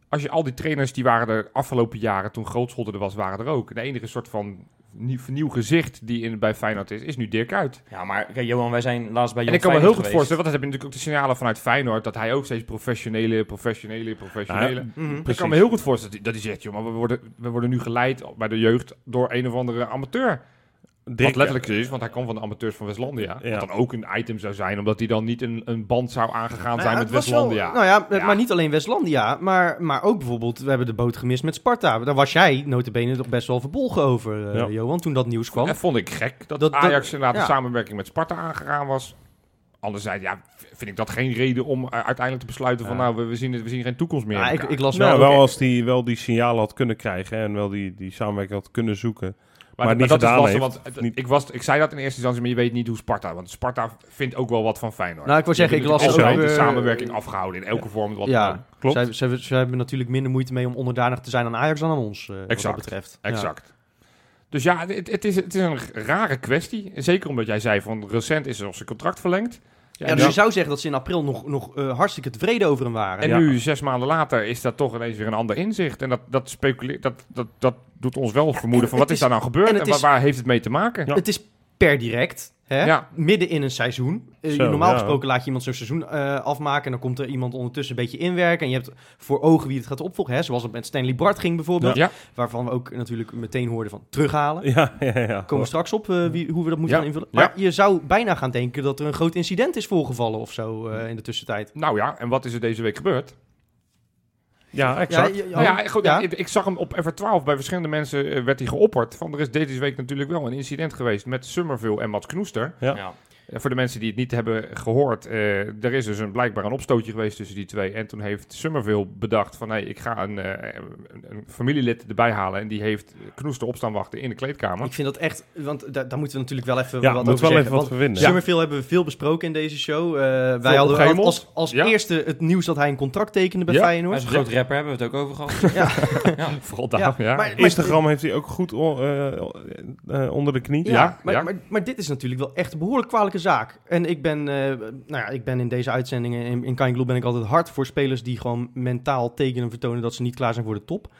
D: Als je al die trainers die waren er afgelopen jaren, toen Grootschotten er was, waren er ook. De enige soort van nieuw, nieuw gezicht die in, bij Feyenoord is, is nu Dirk uit.
C: Ja, maar kijk, Johan, wij zijn laatst bij
D: en
C: Jong
D: ik kan me heel
C: Feyenoord
D: goed voorstellen, want dat hebben natuurlijk ook de signalen vanuit Feyenoord, dat hij ook steeds professionele, professionele, professionele.
A: Ja,
B: Mhm.
D: ik kan
A: precies.
D: me heel goed voorstellen dat hij- dat hij zegt, joh, maar we worden, we worden nu geleid bij de jeugd door een of andere amateur.
A: Dirk-
D: Wat letterlijk is, want hij kwam van de amateurs van Westlandia.
A: Ja.
D: Wat dan ook een item zou zijn, omdat hij dan niet een, een band zou aangegaan
B: Nou
D: zijn
B: ja,
D: met
B: het was wel-
D: Westlandia.
B: nou ja, eh,
D: Ja.
B: maar niet alleen Westlandia, maar, maar ook bijvoorbeeld, we hebben de boot gemist met Sparta. Daar was jij notabene toch best wel verbolgen over, eh
A: Ja.
B: Johan, toen dat nieuws kwam.
D: Dat vond ik gek, dat,
B: Dat- dat-
D: Ajax inderdaad
B: ja.
D: de samenwerking met Sparta aangegaan was. Anderzijds, ja, v- vind ik dat geen reden om eh, uiteindelijk te besluiten van,
A: Ja.
D: nou, we, we zien, het- we zien geen toekomst meer. in
B: Ja, ik,
D: elkaar.
B: ik las wel,
A: Nou,
B: ook- eh,
A: wel als hij wel die signalen had kunnen krijgen hè, en wel die, die samenwerking had kunnen zoeken.
D: Maar,
A: Maar
D: maar
A: niet
D: dat is
A: gedaan
D: lastig,
A: heeft,
D: want
A: of
D: het-
A: niet.
D: ik, was, ik zei dat in eerste instantie, maar je weet niet hoe Sparta... Want Sparta vindt ook wel wat van Feyenoord.
B: nou, ik wil zeggen, ik las
A: natuurlijk
B: ook...
A: altijd
D: altijd de
B: eh,
D: samenwerking afgehouden in elke vorm. Wat dan
B: Ja,
D: ook.
A: Klopt.
B: Zij, zij, zij hebben natuurlijk minder moeite mee om onderdanig te zijn aan Ajax dan aan ons, eh,
D: Exact.
B: wat dat betreft. Ja.
D: Exact. Dus ja, het, het, is, het is een rare kwestie. Zeker omdat jij zei van recent is er zijn contract verlengd. Ja,
B: Ja,
D: en
B: dus
D: nu-
B: je zou zeggen dat ze in april nog, nog eh, hartstikke tevreden over hem waren.
D: en
A: ja.
D: nu, zes maanden later, is dat toch ineens weer een ander inzicht. En dat, dat, speculeert, dat, dat, dat doet ons wel vermoeden van wat
B: het
D: is
B: is-
D: daar nou gebeurd
B: en
D: en,
B: het
D: wa-
B: is-
D: waar heeft het mee te maken?
A: Ja.
B: Het is per direct, hè?
D: Ja.
B: midden in een seizoen. Eh,
A: Zo,
B: normaal
A: ja.
B: gesproken laat je iemand zo'n seizoen eh, afmaken... en dan komt er iemand ondertussen een beetje inwerken... en je hebt voor ogen wie het gaat opvolgen. Hè? Zoals het met Stanley Bart ging bijvoorbeeld...
D: Ja.
B: waarvan we ook natuurlijk meteen hoorden van terughalen.
A: Ja, ja, ja.
B: Komen we straks op eh, wie, hoe we dat
D: Ja.
B: moeten gaan invullen.
D: Ja.
B: Maar je zou bijna gaan denken dat er een groot incident is voorgevallen of zo eh, in de tussentijd.
D: Nou ja, en wat is er deze week gebeurd?
A: Ja, exact.
B: Ja, ja,
D: Nou ja, goed,
B: ja.
D: Ik, ik zag hem op FR12 bij verschillende mensen eh, werd hij geopperd. Van er is deze week natuurlijk wel een incident geweest met Summerville en Mats Knoester.
A: Ja.
C: Ja.
D: Eh, voor de mensen die het niet hebben gehoord, eh, er is dus een, blijkbaar een opstootje geweest tussen die twee. En toen heeft Summerville bedacht van, hey, ik ga een, eh, een, een familielid erbij halen. En die heeft Knoester op staan wachten in de kleedkamer.
B: Ik vind dat echt, want daar, daar moeten we natuurlijk wel even
A: Ja,
B: wat
A: moet
B: over
A: wel
B: zeggen.
A: even wat
B: want
A: verwinnen. Ja.
B: Summerfield hebben we veel besproken in deze show. Eh, wij
D: Veel
B: hadden als,
D: opgehemeld.
B: als, als
D: Ja.
B: eerste het nieuws dat hij een contract tekende bij
D: Ja.
C: Hij is
B: Feyenoord.
C: een groot rapper, hebben we het ook over gehad.
B: Ja.
C: ja.
D: Vooral daarom, ja.
B: maar-
A: Instagram heeft hij ook goed on- eh, eh, onder de knie.
B: Ja,
D: Ja,
B: maar,
D: ja.
B: Maar, maar dit is natuurlijk wel echt een behoorlijk kwalijke zaak. En ik ben, eh, nou ja, ik ben in deze uitzendingen in, in Kind Blue ben ik altijd hard voor spelers die gewoon mentaal tekenen vertonen dat ze niet klaar zijn voor de top.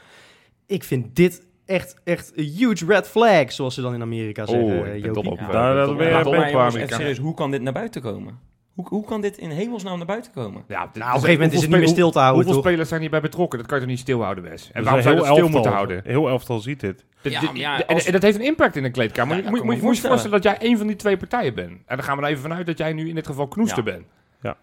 B: Ik vind dit echt, echt een huge red flag, zoals ze dan in Amerika zeggen.
D: Oh,
B: eh,
D: ik ben
B: Jopie.
D: toch op.
C: Ja.
D: eh,
A: Daar-
D: ben
A: dat
D: toch
A: ben
D: op-
A: jij-
D: laat
A: ben
D: op
A: je
C: Maar
D: qua
C: jongens, echt
D: Amerika.
C: serieus, hoe kan dit naar buiten komen? Hoe, hoe kan dit in hemelsnaam naar buiten komen?
D: Ja, dit-
B: Nou, op een gegeven moment is het niet meer
D: hoeveel
B: stil te houden,
D: Hoeveel
B: toch?
D: spelers zijn hierbij betrokken? Dat kan je toch niet stilhouden, Wes? En
A: Dus
D: waarom
A: een
D: zou je
A: heel
D: dat stil
A: elftal-
D: moeten houden?
A: Heel elftal ziet dit.
D: Dit-
C: Ja,
D: dit-
C: maar ja,
D: en-
C: als-
D: En dat heeft een impact in de kleedkamer.
C: Ja,
D: Moet-
C: ja,
D: moet,
C: kan
D: moet,
C: me
D: moet je je
C: voorstellen.
D: voorstellen dat jij één van die twee partijen bent. En dan gaan we er even vanuit dat jij nu in dit geval knoester bent.
A: Ja.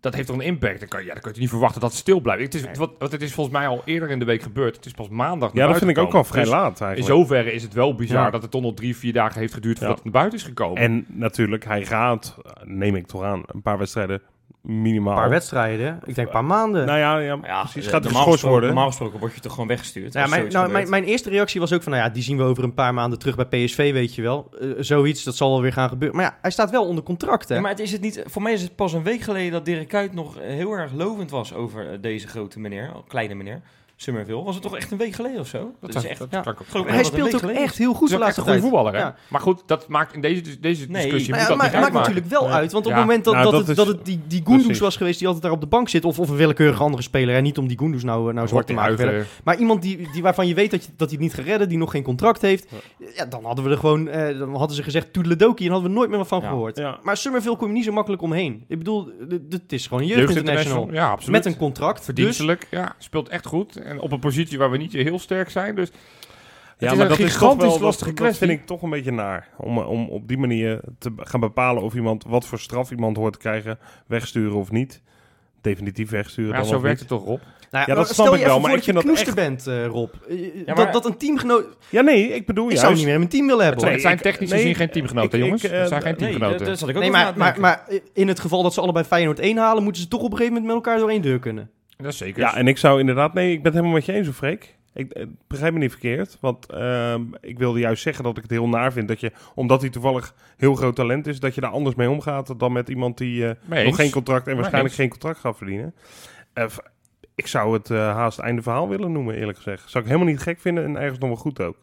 D: Dat heeft toch een impact? Dan kan, ja, dan kun je niet verwachten dat het stil blijft. Het is, wat, wat het is volgens mij al eerder in de week gebeurd. Het is pas maandag naar
A: Ja, dat
D: buiten
A: vind ik ook al
D: gekomen.
A: vrij
D: Dus
A: laat
D: In
A: eigenlijk.
D: zoverre is het wel bizar
A: Ja.
D: dat het toch nog drie, vier dagen heeft geduurd voordat
A: Ja.
D: het naar buiten is gekomen.
A: En natuurlijk, hij gaat, neem ik toch aan, een paar wedstrijden minimaal.
B: Een paar wedstrijden, ik denk een
D: Oh.
B: paar maanden.
A: Nou ja, ja,
C: Ja,
A: precies.
C: eh,
A: Gaat hij
C: normaal
A: geschorst
C: gesproken-
A: worden?
C: Normaal gesproken word je toch gewoon weggestuurd.
B: Ja,
C: als
B: mijn,
C: zoiets
B: nou,
C: gebeurt.
B: mijn, mijn eerste reactie was ook van, nou ja, die zien we over een paar maanden terug bij PSV, weet je wel. Eh, zoiets, dat zal wel weer gaan gebeuren. Maar ja, hij staat wel onder contract, hè.
C: Ja, maar het is het niet, voor mij is het pas een week geleden dat Dirk Kuyt nog eh, heel erg lovend was over eh, deze grote meneer, oh, kleine meneer, Summerville. Was het toch echt een week geleden of zo?
D: dat
C: is
D: zou-
C: echt-
D: dat
C: ja.
D: kan ik ook-
C: Ik geloof
B: Maar
C: echt
B: hij
C: dat een
B: speelt
C: week
B: ook
C: geleden.
B: echt heel goed
D: Het is
B: de
D: ook echt
B: laatste
D: een goede
B: tijd.
D: voetballer, hè?
B: Ja.
D: Maar goed, dat maakt in deze, deze
C: Nee,
D: discussie...
C: maar
D: moet dat
B: Maar ja, maar
D: niet
B: het maakt
D: uitmaken.
B: natuurlijk wel
A: Nee.
B: uit. Want op
D: Ja.
B: het moment dat,
A: Nou,
B: dat,
A: dat
B: het,
A: is-
B: dat het die, die Goendous
A: Precies.
B: was geweest die altijd daar op de bank zit. Of, of een willekeurige andere speler. En niet om die Goendous nou, eh, nou zwart te maken.
D: Huigen,
B: willen. Maar iemand die, die, waarvan je weet dat, je, dat hij het niet gaat redden. Die nog geen contract heeft. Ja, dan hadden we er gewoon... eh, dan hadden ze gezegd toedeledokie. En hadden we nooit meer wat van
C: Ja.
B: gehoord.
A: Ja.
B: Maar Summerville kom je niet zo makkelijk omheen. Ik bedoel, het is gewoon een
D: Jeugd
B: jeugdinternational.
D: International, Ja, absoluut.
B: Met een contract. Dus
D: Verdienstelijk, ja. Speelt echt goed. En op een positie waar we niet heel sterk zijn. Dus
A: Ja,
D: is
A: maar
D: een
A: dat is
D: gigantisch
A: toch wel, dat-
D: lastige
A: dat,
D: kwestie.
A: vind ik toch een beetje naar. Om, eh, om op die manier te b- gaan bepalen of iemand wat voor straf iemand hoort te krijgen, wegsturen of niet. Definitief wegsturen.
D: ja,
A: dan
D: zo
A: of
D: werkt
A: niet.
D: het toch, Rob?
B: Nou
A: Ja,
B: maar
A: dat snap
B: stel
A: ik
B: je
A: wel,
B: even
A: maar
B: voor
A: ik
B: dat
A: vind
B: je
A: dat
B: knoester bent, eh, Rob. Eh, eh,
C: maar-
B: dat, dat een teamgenoot...
A: Ja, nee, ik bedoel
B: Ik zou hem
A: juist-
B: niet meer in mijn team willen hebben.
D: Nee,
A: Nee,
D: het zijn
A: ik-
D: technisch
A: nee,
D: gezien geen teamgenoten,
A: ik-
D: jongens.
A: ik, eh,
D: het zijn geen
A: nee,
C: Nee,
D: teamgenoten.
C: dat, dat zat ik ook
B: Nee,
C: over na
B: maar,
C: te
B: maar,
C: denken.
B: maar in het geval dat ze allebei Feyenoord 1 halen, moeten ze toch op een gegeven moment met elkaar door één deur kunnen.
D: dat is zeker.
A: Ja, en ik zou inderdaad... Nee, ik ben het helemaal met je eens, hoor, Freek. Ik eh, begrijp me niet verkeerd. Want ehm, ik wilde juist zeggen dat ik het heel naar vind. Dat je, omdat hij toevallig heel groot talent is... dat je daar anders mee omgaat dan met iemand die... eh,
D: Mee eens.
A: nog geen contract en waarschijnlijk
D: eens.
A: geen contract gaat verdienen. Eh, v- ik zou het eh, haast einde verhaal willen noemen, eerlijk gezegd. Zou ik helemaal niet gek vinden en ergens nog wel goed ook.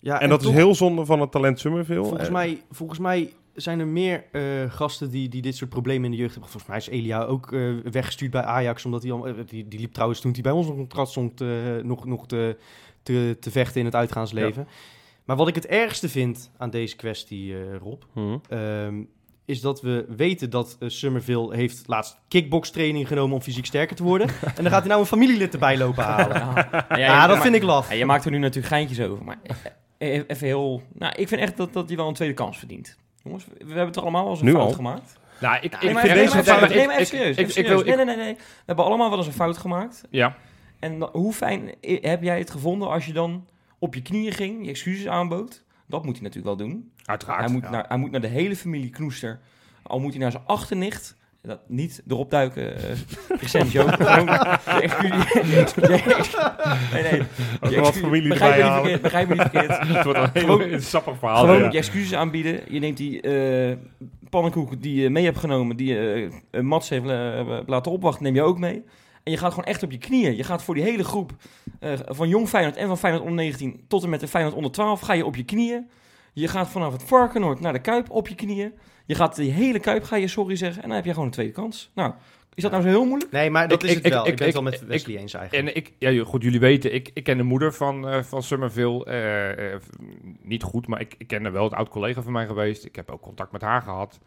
B: Ja,
A: En, dat
B: toch,
A: is heel zonde van het talent Summerville.
B: Volgens,
A: Eh,
B: mij, volgens mij zijn er meer eh, gasten die, die dit soort problemen in de jeugd hebben. Volgens mij is Elia ook eh, weggestuurd bij Ajax, omdat hij al, eh, die, die liep trouwens toen hij bij ons op contract stond eh, nog, nog te, te, te vechten in het uitgaansleven. Maar wat ik het ergste vind aan deze kwestie, eh, Rob,
A: hm.
B: ehm, is dat we weten dat eh, Summerville heeft laatst kickbokstraining genomen om fysiek sterker te worden. en dan gaat hij nou een familielid erbij lopen halen.
C: Ja, ja,
B: Ja,
C: ja,
B: dat
C: maar-
B: vind ik laf.
C: Ja, je maakt er nu natuurlijk geintjes over, maar eh, eh, even heel... Nou, ik vind echt dat, dat hij wel een tweede kans verdient. Jongens, we we hebben toch allemaal wel eens een
A: Nu
C: fout
A: al?
C: gemaakt?
D: Nou, ik,
C: Nee,
D: ik
C: maar
D: vind
C: even-
D: deze
C: nee, maar even-
D: fout-
C: Nee, maar even
D: ik-
C: serieus.
D: ik-
C: even
D: ik- ik
C: serieus.
D: wil-
C: Nee, nee, nee, nee. We hebben allemaal wel eens een fout gemaakt.
D: Ja,
C: En dan- hoe fijn i- heb jij het gevonden als je dan op je knieën ging, je excuses aanbood? Dat moet hij natuurlijk wel doen. Hij
D: uiteraard.
C: moet, naar, hij moet naar de hele familie Knoester. Al moet hij naar zijn achternicht. Dat, niet erop duiken, eh recent Joop. Gewoon je excuses- je ex- Nee, nee. je
A: Ook wel wat
C: excuses-
A: familie
C: begrijp, me niet
A: erbij halen.
C: verkeerd, begrijp me niet verkeerd.
D: Het wordt een heel
C: Gewoon-
D: een sappig verhaal.
C: Gewoon
D: Ah, ja.
C: je excuses aanbieden. Je neemt die eh, pannenkoek die je mee hebt genomen, die je eh, Mats heeft eh, laten opwachten, neem je ook mee. En je gaat gewoon echt op je knieën. Je gaat voor die hele groep eh, van Jong Feyenoord en van Feyenoord onder 19 tot en met de Feyenoord onder 12 ga je op je knieën. Je gaat vanaf het Varkenoord naar de Kuip op je knieën. Je gaat die hele Kuip ga je sorry zeggen en dan heb je gewoon een tweede kans. Nou, is dat nou zo heel moeilijk?
B: Nee, maar dat
D: Ik-
B: is
D: ik-
B: het wel.
D: ik-
B: Ik, ben
D: ik-
B: het wel
D: ik-
B: met Wesley eens eigenlijk.
D: En ik, ja, joh, goed, jullie weten, ik, ik ken de moeder van, eh, van Summerville. eh, eh, v- niet goed, maar ik, ik ken haar wel, een oud collega van mij geweest. Ik heb ook contact met haar gehad.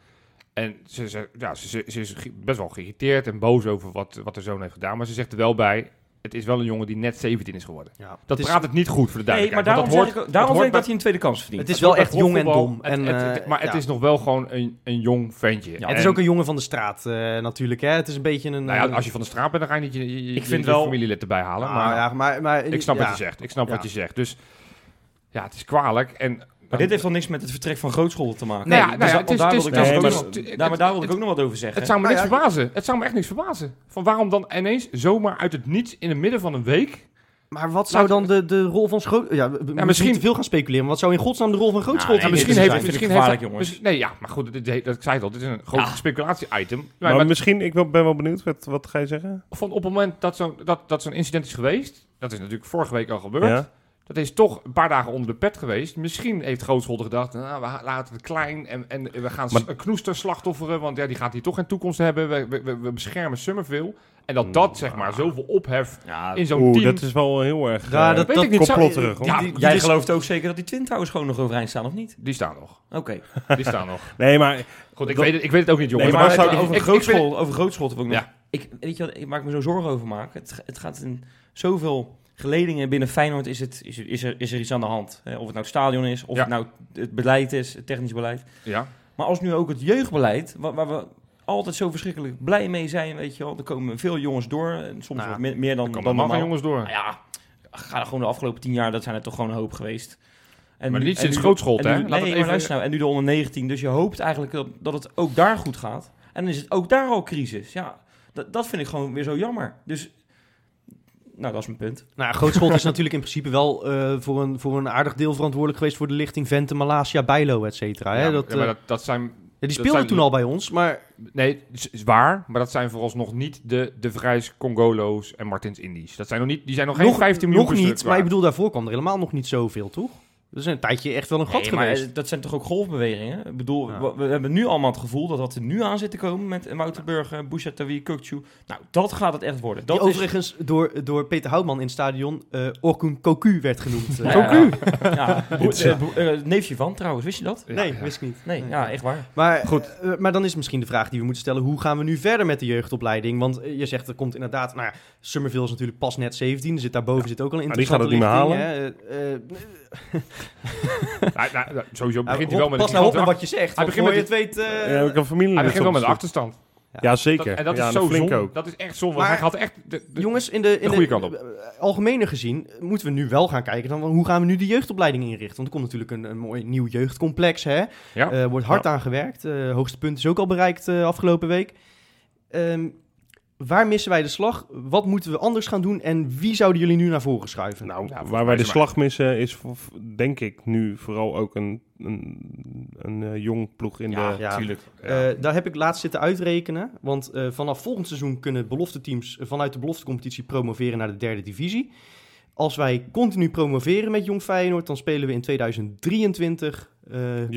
D: En ze, ze, ja, ze, ze, ze is ge- best wel geïrriteerd en boos over wat, wat haar zoon heeft gedaan. Maar ze zegt er wel bij, het is wel een jongen die net 17 is geworden.
B: Ja.
D: Dat
B: het is,
D: praat het niet goed voor de
C: Nee, maar
D: duidelijkheid. want
C: daarom,
D: dat
C: zeg
D: hoort-
C: ik, ook- daarom
D: hoort
C: vind ik
D: bij-
C: dat hij een tweede kans verdient.
B: het is wel
D: hoort
B: echt
D: bij
B: jong en
D: profvoetbal.
B: dom.
D: Het-
B: En,
D: het- het-
B: eh,
D: maar het
B: ja.
D: is nog wel gewoon een, een jong ventje.
C: Ja,
B: het is
D: En,
B: ook een jongen van de straat eh, natuurlijk. Hè? Het is een beetje een...
D: nou ja,
B: eh,
D: als je van de straat bent, dan ga je niet je, je, je-
C: Ik vind
D: je
C: wel-
D: familielid erbij halen.
B: ah,
D: maar
B: ja, maar, maar,
D: ik snap
B: ja.
D: wat je zegt. Ik snap
B: Ja.
D: wat je zegt. Dus ja, het is kwalijk. En,
C: Maar dit heeft dan niks met het vertrek van grootschool te maken.
D: Nee,
C: Dus
D: nou
C: dat-
D: ja,
C: want
D: het is-
C: daar
D: het
C: wil ik
D: is-
C: dan
A: het
C: ook
A: is-
C: nog-
D: het-
C: daar- maar daar wil ik
D: het-
C: ook nog wat over zeggen.
D: Het zou me
B: Nou
D: niks
B: ja,
D: verbazen. Het zou me echt niks verbazen. Van waarom dan ineens zomaar uit het niets in het midden van een week?
B: Maar wat zou dan de, de rol van Schroot... Ja, misschien...
D: misschien-
B: misschien Nou, te veel gaan speculeren. Maar wat zou in godsnaam de rol van Grootschool
C: nee,
B: zijn?
C: dit
D: misschien
C: is-
D: heeft
C: dit
D: het
C: is
D: misschien heeft
C: gevaarlijk,
D: dat-
C: jongens.
D: dus- nee, ja, maar goed, dit, dit- dat ik zei het al. Dit is een groot
C: Ja.
D: speculatie-item. Nee,
A: Maar,
D: maar
A: misschien, ik ben, ben wel benieuwd, wat, wat ga je zeggen?
D: van op het moment dat zo'n dat, dat zo'n incident is geweest, dat is natuurlijk vorige week al gebeurd.
A: Ja.
D: Dat is toch een paar dagen onder de pet geweest. Misschien heeft Grootscholder gedacht, nou, we ha- laten het klein en, en we gaan
A: Maar-
D: s- een knoester slachtofferen, want ja, die gaat hier toch geen toekomst hebben. We, we- we, we beschermen Summerville. En dat dat, zeg maar, zoveel ophef
C: Ja,
D: in zo'n
A: Oeh,
D: team...
A: dat is wel heel erg
B: Ja,
A: eh,
B: dat-
D: weet
B: dat
D: ik niet. Zou-
A: complotterig. hoor.
D: Ja,
B: Die- die
C: Jij
B: dis-
C: gelooft ook zeker dat die Twin Towers gewoon nog overeind staan, of niet?
D: Die staan nog.
C: Oké.
D: Die staan nog.
A: Nee, maar eh,
D: Goed, ik,
A: Dat-
D: weet het, ik weet het ook niet, jongen.
A: Nee,
C: maar
A: maar zou-
C: over,
D: ik- ik
C: grootschool, over grootschool wil ik nog...
D: Ja.
C: Ik, weet je wat, ik maak me zo zorgen over maak. Het, het gaat in zoveel geledingen binnen Feyenoord is, het, is, er- is, er, is er iets aan de hand. Hè, Of het nou het stadion is, of
D: Ja.
C: het nou het beleid is, het technisch beleid.
D: Ja.
C: Maar als nu ook het jeugdbeleid, wa- waar, we altijd zo verschrikkelijk blij mee zijn, weet je wel. Er komen veel jongens door, en soms
B: Nou,
C: wat meer, meer dan,
D: Dan
C: dan
D: komen er
C: normaal.
D: maar jongens door.
C: Nou ja, ga er gewoon de afgelopen tien jaar, dat zijn er toch gewoon een hoop geweest. En
D: Maar
C: nu-
D: niet
C: en
D: sinds
C: nu-
D: Grootschool,
C: en
D: hè?
C: nu-
D: Laat
C: Nee,
D: het
C: maar
D: even-
C: luister nou, en nu de onder 19, dus je hoopt eigenlijk dat, dat het ook daar goed gaat. En dan is het ook daar al crisis. Ja, dat, dat vind ik gewoon weer zo jammer. Dus, nou, dat is mijn punt.
B: Nou, ja, Grootschot is natuurlijk in principe wel eh, voor, een, voor een aardig deel verantwoordelijk geweest voor de lichting Vente, Malasia, Bijlo, et cetera. hè.
D: Ja,
B: dat,
D: ja, maar
B: eh,
D: dat, dat zijn...
B: ja, die
D: dat
B: speelden
D: zijn-
B: toen al bij ons, maar
D: Nee, is is waar, maar dat zijn vooralsnog niet de, de Vrijs, Congolo's en Martins Indies. Dat zijn nog niet, die zijn nog geen 15 miljoen
B: nog
D: per
B: niet.
D: stuk
B: Maar ik
D: waard.
B: bedoel, daarvoor kwam er helemaal nog niet zoveel, toch? Dat is een tijdje echt wel een gat
C: Nee, maar
B: geweest.
C: eh, dat zijn toch ook golfbewegingen? Ik bedoel,
B: Ja.
C: we, we hebben nu allemaal het gevoel dat wat er nu aan zit te komen met Wouter Burger, Bouchatoui, Kukcu. Nou, dat gaat het echt worden. Dat
B: die
C: is-
B: overigens door, door Peter Houtman in het stadion eh Orkun Koku werd genoemd. Eh,
C: Ja,
B: Koku?
C: Ja, ja. Broer- eh, broer- eh, neefje van trouwens, wist je dat?
B: Nee,
D: Ja, ja.
B: wist ik niet.
C: Nee, ja, echt waar.
B: Maar, Goed. maar dan is misschien de vraag die we moeten stellen: hoe gaan we nu verder met de jeugdopleiding? Want eh, je zegt er komt inderdaad, nou ja, Summerville is natuurlijk pas net 17, er zit daarboven zit ook al een
A: Maar die gaat
B: interessante
A: het niet meer
B: lichting, Eh,
D: Nou, nou, nou, sowieso
B: hè. Eh,
D: begint
B: eh,
D: hij wel met
B: pas
D: een
B: nou op
D: grote
B: met
D: achter-
B: wat je zegt.
D: Hij
B: want
D: begint
B: voor je
D: met
B: het weet. eh,
A: ja, ik heb familie
D: Hij
A: dat
D: begint wel met
A: soms
D: een
A: doet.
D: achterstand.
A: Ja,
D: Dat-
A: zeker.
D: en dat
A: ja,
D: is zo
A: flink
D: zonde.
A: ook.
D: Dat is echt zonde, want
B: Maar-
D: hij gaat echt... De, de-
B: Jongens, in de, in
D: de goede kant op.
B: eh, algemene gezien eh, moeten we nu wel gaan kijken dan, van hoe gaan we nu de jeugdopleiding inrichten. Want er komt natuurlijk een, een mooi nieuw jeugdcomplex. Hè?
D: Ja.
B: Eh, wordt hard aan gewerkt. Eh, hoogste punt is ook al bereikt eh, afgelopen week. Ehm, waar missen wij de slag? Wat moeten we anders gaan doen? En wie zouden jullie nu naar voren schuiven?
A: Nou,
D: Ja, volgens
A: waar
D: mij
A: wij
D: is
A: de
D: er
A: slag missen is, voor- denk ik, nu vooral ook een, een, een eh, jong ploeg in de...
B: ja.
C: tuurlijk.
B: Eh, daar heb ik laatst zitten uitrekenen. Want eh, vanaf volgend seizoen kunnen belofteteams eh, vanuit de beloftecompetitie promoveren naar de derde divisie. Als wij continu promoveren met Jong Feyenoord, dan spelen we in 2023 eh
A: Jupiler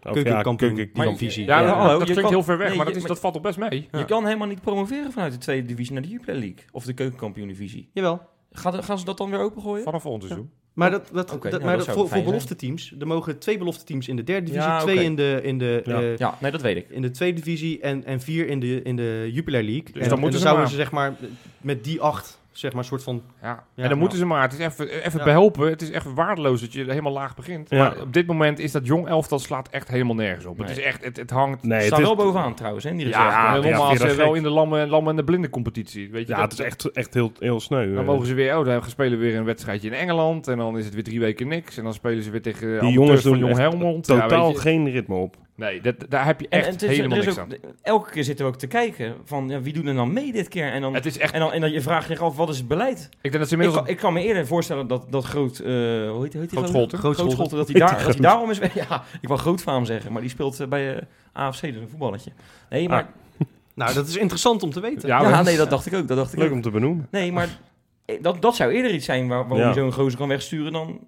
B: keukenkampioen
A: ja,
B: divisie.
D: ja,
C: Ja,
D: dat- dat
C: hallo, je
D: klinkt
C: kan-
D: heel ver weg,
C: nee,
D: maar,
C: je-
D: dat, is,
C: maar-
D: dat valt toch best mee.
C: Je kan helemaal niet promoveren vanuit de tweede divisie naar de Jupiler League. Of de keukenkampioen divisie.
B: Jawel.
C: Gaan, gaan ze dat dan weer opengooien?
D: Vanaf volgend seizoen.
B: Maar, dat, dat,
C: Oké,
B: dat-
C: nou,
B: maar
C: dat
B: dat
C: zou
B: voor, voor
C: fijn zijn.
B: belofteteams, er mogen twee belofteteams in de derde divisie,
C: Ja,
B: twee
C: oké.
B: in de, in de,
A: Ja.
B: eh,
C: Ja, nee, dat weet ik.
B: in de tweede divisie en, en vier in de, in de Jupiler League. en,
D: Dus dan moeten
B: en
D: ze
B: zouden
D: maar.
B: ze zeg maar met die acht, zeg maar, soort van
D: Ja.
B: Ja,
D: en dan
B: ja.
D: moeten ze maar. Het is even, even
B: Ja.
D: behelpen. Het is echt waardeloos dat je helemaal laag begint.
A: Ja.
D: Maar op dit moment is dat jong elftal slaat echt helemaal nergens op. Het
C: Nee.
D: is echt, het, het hangt...
A: Nee,
C: Ze
A: het
C: staan
A: is,
C: wel bovenaan trouwens, hè, in die
D: ja,
C: reserve.
A: ja,
D: normaal
A: vind je
D: zijn
A: dat
D: wel
A: gek?
D: in de lamme, lamme en de blinde competitie. Weet je,
A: ja,
D: dat-
A: het is echt, echt heel, heel sneu.
D: Dan
A: eh.
D: mogen ze weer, oh, dan spelen we weer een wedstrijdje in Engeland. En dan is het weer drie weken niks. En dan spelen ze weer tegen eh,
A: Die
D: amateurs
A: jongens doen
D: van Jong
A: echt
D: Helmond. Ja,
A: Totaal
D: weet je.
A: geen ritme op.
D: nee, dat, daar heb je
C: En-
D: echt
C: en het is- er
D: helemaal
C: is
D: niks
C: ook-
D: aan.
C: Elke keer zitten we ook te kijken van ja, wie doet er dan mee dit keer? En dan,
D: Het is echt,
C: en dan, en dan je vraagt zich af, wat is het beleid?
D: ik denk dat ze
C: Ik
D: inmiddels...
C: kan, ik kan me eerder voorstellen dat, dat groot, eh hoe heet, hoe heet die
D: Groot
C: gozer?
D: Scholten.
C: Groot
B: Groot
C: Scholten, dat hij, daar, dat hij daarom is... Ja, ik wou groot van hem zeggen, maar die speelt eh, bij eh, AFC, dus een voetballetje. Nee, maar
B: Nou, dat is interessant om te weten.
D: Ja,
C: ja,
D: Ah, maar-
C: nee, dat dacht ik ook. Dat dacht ik
A: Leuk
C: ook.
A: om te benoemen.
C: Nee, maar eh, dat, dat zou eerder iets zijn waar, waarom
A: Ja.
C: je zo'n gozer kan wegsturen dan,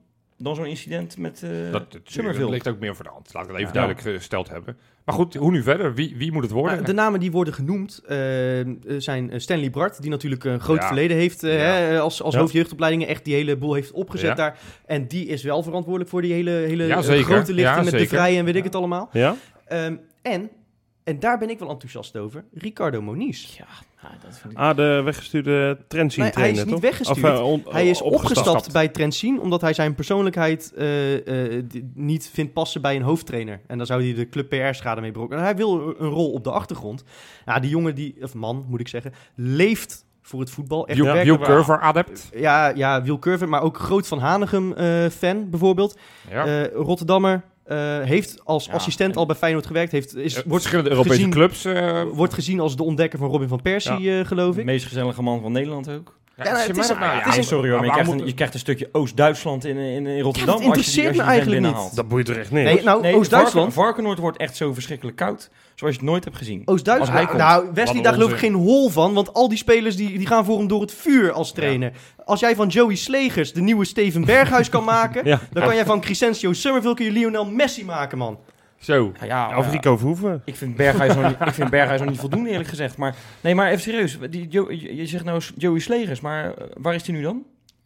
C: dan zo'n incident met eh
D: dat, dat-
C: Summerville.
D: dat ligt ook meer voor de hand. Laat ik dat even
C: Ja.
D: duidelijk eh, gesteld hebben. Maar goed, hoe nu verder? Wie, wie moet het worden?
B: Nou, de namen die worden genoemd eh, eh, zijn eh, Stanley Bart, die natuurlijk een groot
D: Ja.
B: verleden heeft eh,
D: Ja.
B: hè, als, als
A: Ja.
B: hoofdjeugdopleidingen, echt die hele boel heeft opgezet
D: Ja.
B: daar. En die is wel verantwoordelijk voor die hele, hele
D: Ja,
B: eh,
D: zeker.
B: grote lichting
D: Ja,
B: met
D: zeker.
B: de vrije en weet ik
C: Ja.
B: het allemaal.
A: Ja?
B: Ehm, en En daar ben ik wel enthousiast over. Ricardo Moniz.
C: Ja, nou, dat vind ik...
A: Ah, de weggestuurde trendsie
B: Nee, hij is
A: trainer,
B: niet
A: toch?
B: weggestuurd.
A: eh, on-
B: Hij is opgestapt,
A: opgestapt.
B: bij Trentin omdat hij zijn persoonlijkheid eh, eh, d- niet vindt passen bij een hoofdtrainer. En daar zou hij de club PR-schade mee brokken. En hij wil een- een rol op de achtergrond. Ja, die jongen, die, of man moet ik zeggen, leeft voor het voetbal. Echt
D: Hugh-
B: werkelijk
D: Hugh Curver adept.
B: ja, ja, Wiel Curve, maar ook Groot van Hanegem eh, fan bijvoorbeeld.
D: Ja.
B: Eh, Rotterdammer eh, heeft als
D: Ja,
B: assistent
C: en-
B: al bij Feyenoord gewerkt. Heeft, is,
D: Eh,
B: wordt,
D: verschillende Europese
B: gezien- nou,
D: clubs. eh,
B: wordt gezien als de ontdekker van Robin van Persie, eh, geloof
C: De
B: ik.
C: meest gezellige man van Nederland ook.
D: ja,
B: Ja, nou,
D: zie
B: het
D: mij
B: is-
D: dat nou? Ja,
B: het
C: Ja,
B: is
D: maar-
B: een-
C: Ah, sorry hoor, maar je
D: waarom
C: krijgt, een,
D: moet-
C: je krijgt een stukje Oost-Duitsland in, in, in Rotterdam. als je die-
B: interesseert
C: als je
B: me
C: die vent
B: eigenlijk
C: binnenhaalt.
A: Dat boeit er echt niks.
B: Nee, nou,
C: Nee,
B: Oost-Duitsland.
C: Varken- Varkenoord wordt echt zo verschrikkelijk koud, zoals je het nooit hebt gezien. Als hij
B: Oost-Duitsland.
C: komt.
B: Nou, Wesley,
A: een
B: daar geloof ik
A: onzin.
B: geen hol van. Want al die spelers die, die gaan voor hem door het vuur als trainer. Als jij van Joey Slegers de nieuwe Steven Berghuis kan maken.
A: Ja.
B: Dan kan jij van Crescencio Summerville kun je Lionel Messi maken, man.
D: Zo.
C: Ja, Nou ja,
A: Of
C: ja.
A: Rico Verhoeven.
C: Ik vind Berghuis nog niet, ik vind Berghuis nog niet voldoende, eerlijk gezegd. Maar nee, maar even serieus. Die Jo- je je zegt nou s- Joey Slegers, maar eh, waar is hij nu dan?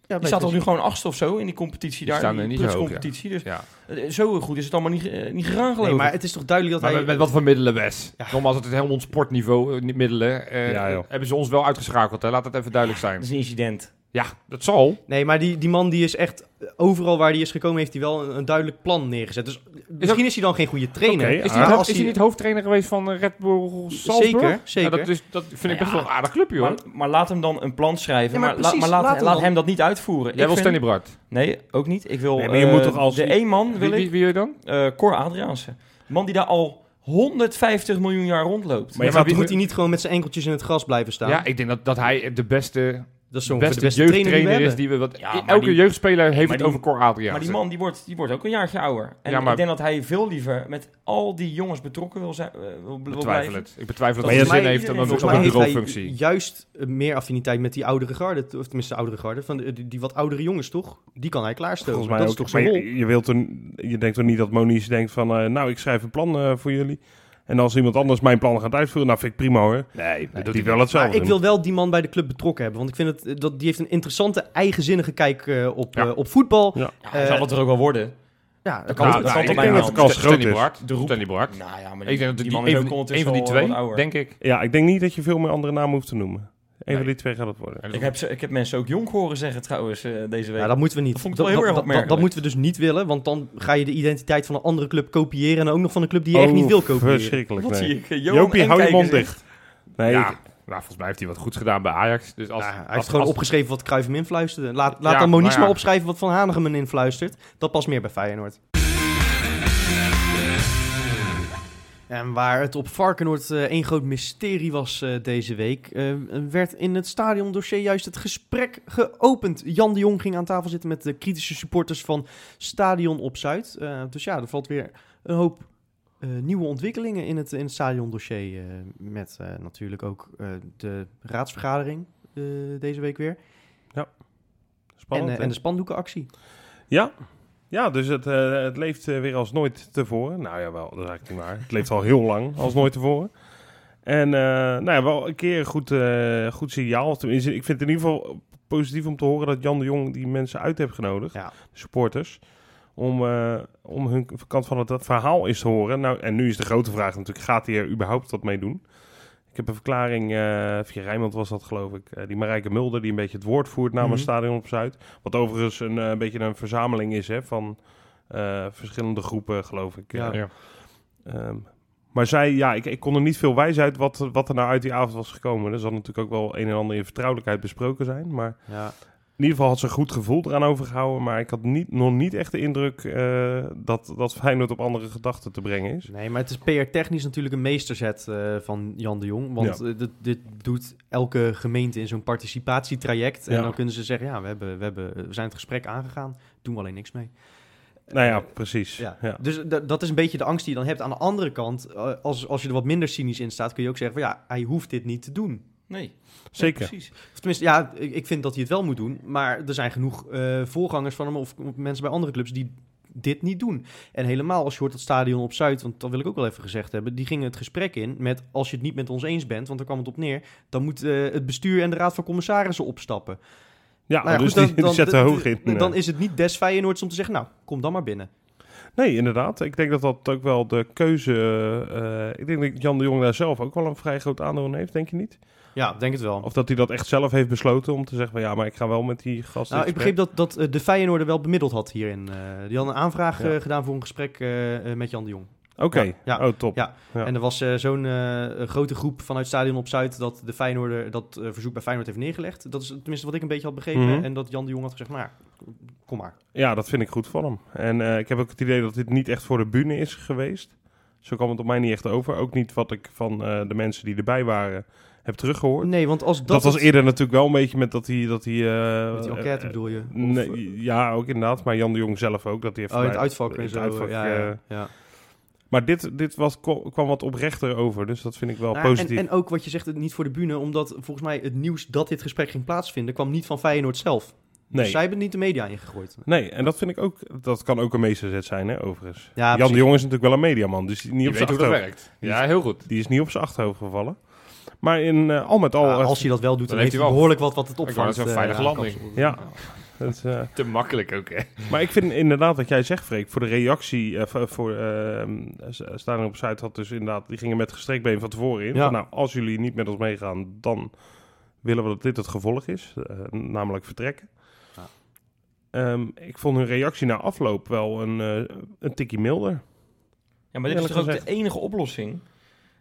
B: Ja,
C: Die staat al nu gewoon achtste of zo in die competitie daar.
D: staan
C: in
D: er
C: die
D: niet zo hoog,
C: competitie. Dus
D: Ja.
C: eh, zo goed is het allemaal niet, eh, niet gegaan geloof
B: Nee,
C: ik.
B: maar het is toch duidelijk dat
D: Maar
B: hij...
D: met, met wat voor middelen, Wes?
B: Ja.
D: Nogmaals, het is helemaal ons sportniveau, eh, niet middelen. eh,
A: Ja, joh.
D: hebben ze ons wel uitgeschakeld, hè? laat het even duidelijk
C: Dat
D: zijn.
C: is een incident.
D: Ja, dat zal.
B: Nee, maar die, die man die is echt... Overal waar hij is gekomen heeft hij wel een, een duidelijk plan neergezet. Dus misschien is hij dan geen goede trainer.
A: Oké,
B: is
A: ah.
B: dan
D: Is
B: als
D: hij niet hoofdtrainer geweest van eh, Red Bull Salzburg?
B: Zeker,
D: Ja,
B: zeker.
D: dat, is, dat vind ik
C: Nou
D: best
C: ja.
D: wel een aardig clubje, hoor.
C: Maar, maar laat hem dan een plan schrijven.
B: Ja, maar
C: maar, la-
B: precies,
C: maar laat,
B: laat
C: laat,
B: hem dan.
C: hem dat niet uitvoeren.
D: Jij
C: Ik
D: wil
C: vind-
D: Stanley Brad.
C: Nee, ook niet. Ik wil
A: Nee, maar je moet
C: eh,
A: toch als-
C: de één man
D: Wie,
C: wil
D: wie,
C: ik
D: wie wil je dan?
C: eh Cor Adriaanse. De man die daar al 150 miljoen jaar rondloopt.
A: Maar je
B: Ja, maar
A: gaat
B: moet
A: toch-
B: hij niet gewoon met zijn enkeltjes in het gras blijven staan?
D: Ja, ik denk dat, dat hij de beste,
B: dat is
D: de
B: zo'n
D: beste,
B: beste, beste trainer die we
D: jeugdtrainer is.
B: hebben.
D: Die we, wat,
C: Ja, maar
D: elke
C: die-
D: jeugdspeler heeft
C: maar
D: het
C: die-
D: over Cor Adriaans.
C: Maar die man die wordt, die wordt ook een jaartje ouder. En
D: Ja, maar-
C: ik denk dat hij veel liever met al die jongens betrokken wil, zijn, eh, wil- wil
D: Ik betwijfel
C: blijven.
D: het. Ik betwijfel
A: Maar
D: dat hij
A: je-
D: zin heeft om
C: Volgens
D: een-
B: Volgens
D: om
B: mij
D: een
B: heeft hij
D: bureaufunctie.
B: juist eh, meer affiniteit met die oudere garde. Of tenminste, de oudere garde. Van de- die, die wat oudere jongens, toch? Die kan hij klaarstomen.
A: Volgens mij
B: dat
A: ook.
B: is toch
A: maar
B: zijn rol?
A: je, je, wilt er, je denkt toch niet dat Moniz denkt van... eh, nou, ik schrijf een plan eh, voor jullie. En als iemand anders mijn plan gaat uitvoeren, nou vind ik prima hoor.
D: Nee,
A: Dat doet hij wel hetzelfde.
B: Maar ik wil wel die man bij de club betrokken hebben. Want ik vind het, eh, dat, die heeft een interessante, eigenzinnige kijk eh, op,
D: Ja.
B: eh, op voetbal.
A: Ja.
C: Ja, hij
B: Eh,
C: zal het er ook wel worden.
B: Ja, dat kan
C: kan het- dat kan
B: ook.
C: het
A: ik
C: bij
A: denk
C: mij
A: dat de
C: wel.
A: kans groot
D: Stanley
A: is.
D: Brad.
C: De roep.
D: Stanley Brad.
C: Nou ja, maar
D: Ik denk dat die,
C: man
D: een,
C: is
D: van
C: ook
D: die-
C: ondertussen
D: een van die
C: al
D: twee,
C: wat ouder.
D: denk ik.
A: Ja, ik denk niet dat je veel meer andere namen hoeft te noemen. Een van die twee gaat het worden.
C: Ik heb, ze- ik heb mensen ook jong horen zeggen trouwens eh, deze week.
B: Ja, dat moeten we niet.
C: Dat vond ik wel heel erg opmerkelijk.
B: dat moeten we dus niet willen, want dan ga je de identiteit van een andere club kopiëren. En ook nog van een club die je echt niet wil kopiëren.
A: Oh, Verschrikkelijk,
C: Wat
A: nee.
C: zie ik? eh, Johan
A: Jopie, hou je
C: Enkijkers
A: mond
C: in.
A: dicht. Nee,
D: ja, nou, volgens mij heeft hij wat goeds gedaan bij Ajax. Dus als,
B: Ja, Nou, hij
D: als,
B: heeft gewoon
D: als-
B: opgeschreven wat Cruijff hem influisterde. Laat, laat
D: Ja,
B: dan
D: nou
B: Moniz
D: ja.
B: maar opschrijven wat Van Hanegem hem influistert. Dat past meer bij Feyenoord. En waar het op Varkenoord eh, één groot mysterie was eh, deze week, eh, werd in het stadiondossier juist het gesprek geopend. Jan de Jong ging aan tafel zitten met de kritische supporters van Stadion op Zuid. Eh, dus ja, er valt weer een hoop eh, nieuwe ontwikkelingen in het, in het stadiondossier. eh, met eh, natuurlijk ook eh, de raadsvergadering eh, deze week weer. En,
A: spannend.
B: eh,
A: hè?
B: en de spandoekenactie.
A: Ja. Ja, dus het, eh, het leeft eh, weer als nooit tevoren. Nou ja, wel, dat is eigenlijk niet waar. Het leeft al heel lang als nooit tevoren. En eh, nou ja, wel een keer een goed, eh, goed signaal. Tenminste, ik vind het in ieder geval positief om te horen dat Jan de Jong die mensen uit heeft genodigd,
B: Ja.
A: supporters, om, eh, om hun kant van het verhaal eens te horen. Nou, en nu is de grote vraag natuurlijk, gaat hij er überhaupt wat mee doen? Ik heb een verklaring, eh, via Rijnmond was dat geloof ik, eh, die Marijke Mulder, die een beetje het woord voert namens
B: Mhm.
A: Stadion op Zuid. Wat overigens een, eh, beetje een verzameling is hè, van eh, verschillende groepen, geloof ik.
B: Ja.
A: Eh, ehm, maar zij, ja, ik, ik kon er niet veel wijs uit wat, wat er nou uit die avond was gekomen. Er zal natuurlijk ook wel een en ander in vertrouwelijkheid besproken zijn. Maar
B: Ja.
A: in ieder geval had ze een goed gevoel eraan overgehouden. Maar ik had niet, nog niet echt de indruk eh, dat, dat Feyenoord op andere gedachten te brengen is.
B: Nee, maar het is PR-technisch natuurlijk een meesterzet eh, van Jan de Jong. Want eh, dit, dit doet elke gemeente in zo'n participatietraject. En
A: Ja.
B: dan kunnen ze zeggen, ja, we, hebben, we, hebben, eh, we zijn het gesprek aangegaan. Doen we alleen niks mee.
A: Nou ja, precies.
B: Ja.
A: Ja.
B: Dus d- dat is een beetje de angst die je dan hebt. Aan de andere kant, eh, als, als je er wat minder cynisch in staat, kun je ook zeggen van ja, hij hoeft dit niet te doen.
C: Nee,
A: Zeker.
C: Nee, precies.
B: Of tenminste, ja, ik, ik vind dat hij het wel moet doen. Maar er zijn genoeg eh, voorgangers van hem of mensen bij andere clubs die dit niet doen. En helemaal als je hoort dat stadion op Zuid, want dat wil ik ook wel even gezegd hebben, die gingen het gesprek in met als je het niet met ons eens bent, want daar kwam het op neer, dan moet eh, het bestuur en de raad van commissarissen opstappen.
A: Ja,
B: Nou ja,
A: dus
B: goed,
A: die, die zetten
B: dan-
A: hoog in. eh.
B: Dan is het niet des Feyenoords om te zeggen, nou, kom dan maar binnen.
A: Nee, inderdaad. Ik denk dat dat ook wel de keuze... eh, ik denk dat Jan de Jong daar zelf ook wel een vrij groot aandeel in heeft, denk je niet?
B: Ja, denk het wel.
A: Of dat hij dat echt zelf heeft besloten om te zeggen van... Ja, maar ik ga wel met die gasten
B: Nou,
A: in
B: ik
A: gesprek.
B: begreep dat, dat eh, de Feyenoorder wel bemiddeld had hierin. Eh, die had een aanvraag
A: Ja.
B: eh, gedaan voor een gesprek eh, eh, met Jan de Jong.
A: Oké,
B: Ja, ja.
A: oh top.
B: Ja.
A: Ja.
B: En er was eh, zo'n eh, grote groep vanuit Stadion op Zuid dat de Feyenoorder dat eh, verzoek bij Feyenoord heeft neergelegd. Dat is tenminste wat ik een beetje had begrepen.
A: Mhm.
B: En dat Jan de Jong had gezegd, nou, ja, kom maar.
A: Ja, dat vind ik goed van hem. En eh, ik heb ook het idee dat dit niet echt voor de bühne is geweest. Zo kwam het op mij niet echt over. Ook niet wat ik van eh, de mensen die erbij waren heb teruggehoord.
B: Nee, want als Mm, dat...
A: dat was
B: het-
A: eerder natuurlijk wel een beetje met dat hij... Dat hij eh,
B: Met die
A: eh,
B: enquête
A: eh,
B: bedoel je? Of,
A: nee,
B: eh,
A: ja, ook inderdaad. Maar Jan de Jong zelf ook. Dat hij heeft
B: oh, in het
A: mij-
B: uitvak
A: in
B: en
A: het
B: zo.
A: uitvak,
B: ja,
A: eh,
B: ja, ja.
A: Maar dit, dit was, kwam kwam wat oprechter over. Dus dat vind ik wel
B: Nou ja,
A: positief.
B: En, en ook wat je zegt, het niet voor de bühne, omdat volgens mij het nieuws dat dit gesprek ging plaatsvinden kwam niet van Feyenoord zelf.
A: nee.
B: Dus zij hebben niet de media ingegooid.
A: nee, en dat vind ik ook... Dat kan ook een meesterzet zijn, hè, overigens.
B: Ja,
A: Jan de
B: precies.
A: Jong is natuurlijk wel een mediaman. Dus die is niet
D: Je
A: op
D: weet
A: zijn
D: hoe dat
A: achterhoofd.
D: werkt. Ja, heel goed.
A: Die is niet op zijn achterhoofd gevallen. Maar in, eh, al met al...
B: Ah,
A: eh,
B: als hij dat wel doet, dan,
D: Dan
B: heeft
D: heeft
B: hij
D: hij wel-
B: behoorlijk wat wat het
D: Ik wou
B: opvangt.
D: zo'n
B: eh,
D: veilige
B: ja.
D: landing.
A: Ja. het, eh,
D: Te makkelijk ook, hè?
A: maar ik vind inderdaad wat jij zegt, Freek, voor de reactie eh, voor- voor ehm Staan op Zuid had dus inderdaad, die gingen met gestrekt been van tevoren in.
B: Ja.
A: Van, nou, als jullie niet met ons meegaan, dan willen we dat dit het gevolg is, eh, namelijk vertrekken.
B: Ja.
A: Ehm, ik vond hun reactie na afloop wel een, eh, een tikkie milder.
C: Ja, maar dit is
A: Eerlijk
C: toch ook de
A: gezegd.
C: enige oplossing.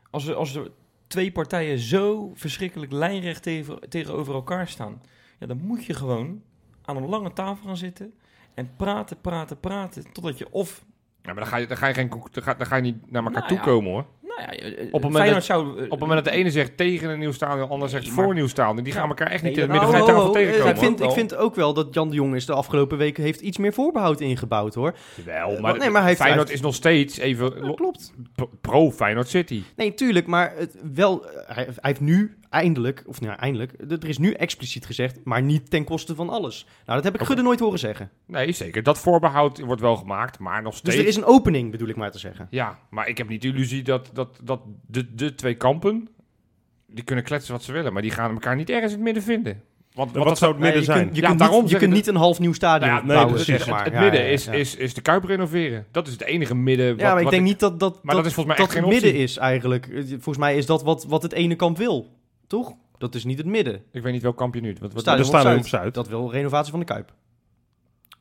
C: Als er, als er twee partijen zo verschrikkelijk lijnrecht tegen, tegenover elkaar staan, ja, dan moet je gewoon aan een lange tafel gaan zitten en praten, praten, praten, totdat je of...
D: Ja, maar dan ga je, dan ga je, geen, conc- dan ga, dan ga je niet naar elkaar
C: Nou
D: toe
C: ja.
D: komen, hoor.
C: Nou ja, eh,
D: Op het moment
C: Feyenoord
D: dat-
C: zou... eh,
D: Op het moment dat de ene zegt tegen een nieuw stadion, de ander zegt
C: Nee,
D: voor
C: maar-
D: een nieuw stadion. Die gaan
C: Ja.
D: elkaar echt
C: Nee,
D: niet in het
C: dat-
D: midden van de
C: Ho, ho,
D: tafel
C: ho,
D: tegenkomen.
B: Oh, eh, Ik vind,
C: hoor.
B: ik vind ook wel dat Jan de Jong is de afgelopen weken heeft iets meer voorbehoud ingebouwd hoor.
D: Wel,
B: Eh,
D: maar,
B: nee, maar hij heeft-
D: Feyenoord
B: hij
D: is nog steeds even Eh, lo-
B: klopt.
D: pro- pro Feyenoord City.
B: Nee, tuurlijk, maar het wel, eh, hij, hij heeft nu eindelijk, of nou ja, eindelijk, d- er is nu expliciet gezegd, maar niet ten koste van alles. Nou, dat heb ik
D: Oké.
B: Gudde nooit horen zeggen.
D: Nee, zeker. Dat voorbehoud wordt wel gemaakt, maar nog
B: Dus
D: steeds.
B: er is een opening, bedoel ik maar te zeggen.
D: Ja, maar ik heb niet de illusie dat, dat, dat de, de twee kampen, die kunnen kletsen wat ze willen, maar die gaan elkaar niet ergens in het midden vinden. Want,
A: Wat,
D: want dat-
A: zou het midden
B: je
A: zijn?
B: kunt, je
D: Ja,
B: kunt,
D: daarom
B: niet, je
D: zeg ik
B: kunt niet een half nieuw stadion
D: Nou ja,
A: nee,
B: bouwen,
A: precies.
B: zeg maar.
D: het
B: Ja,
D: midden
B: ja,
D: Is,
B: ja.
D: is, is de Kuip renoveren. Dat is het enige midden. Wat,
B: ja, maar ik
D: wat
B: denk niet dat dat,
D: Maar dat is volgens mij echt
B: het
D: geen optie.
B: midden is eigenlijk. Eh, Volgens mij is dat wat, wat het ene kamp wil, toch? Dat is niet het midden.
D: Ik weet niet welk kamp je nu. Wat, wat,
B: Stadion
A: er
B: op
A: staan er
B: Zuid.
A: op Zuid.
B: Dat wil renovatie van de Kuip.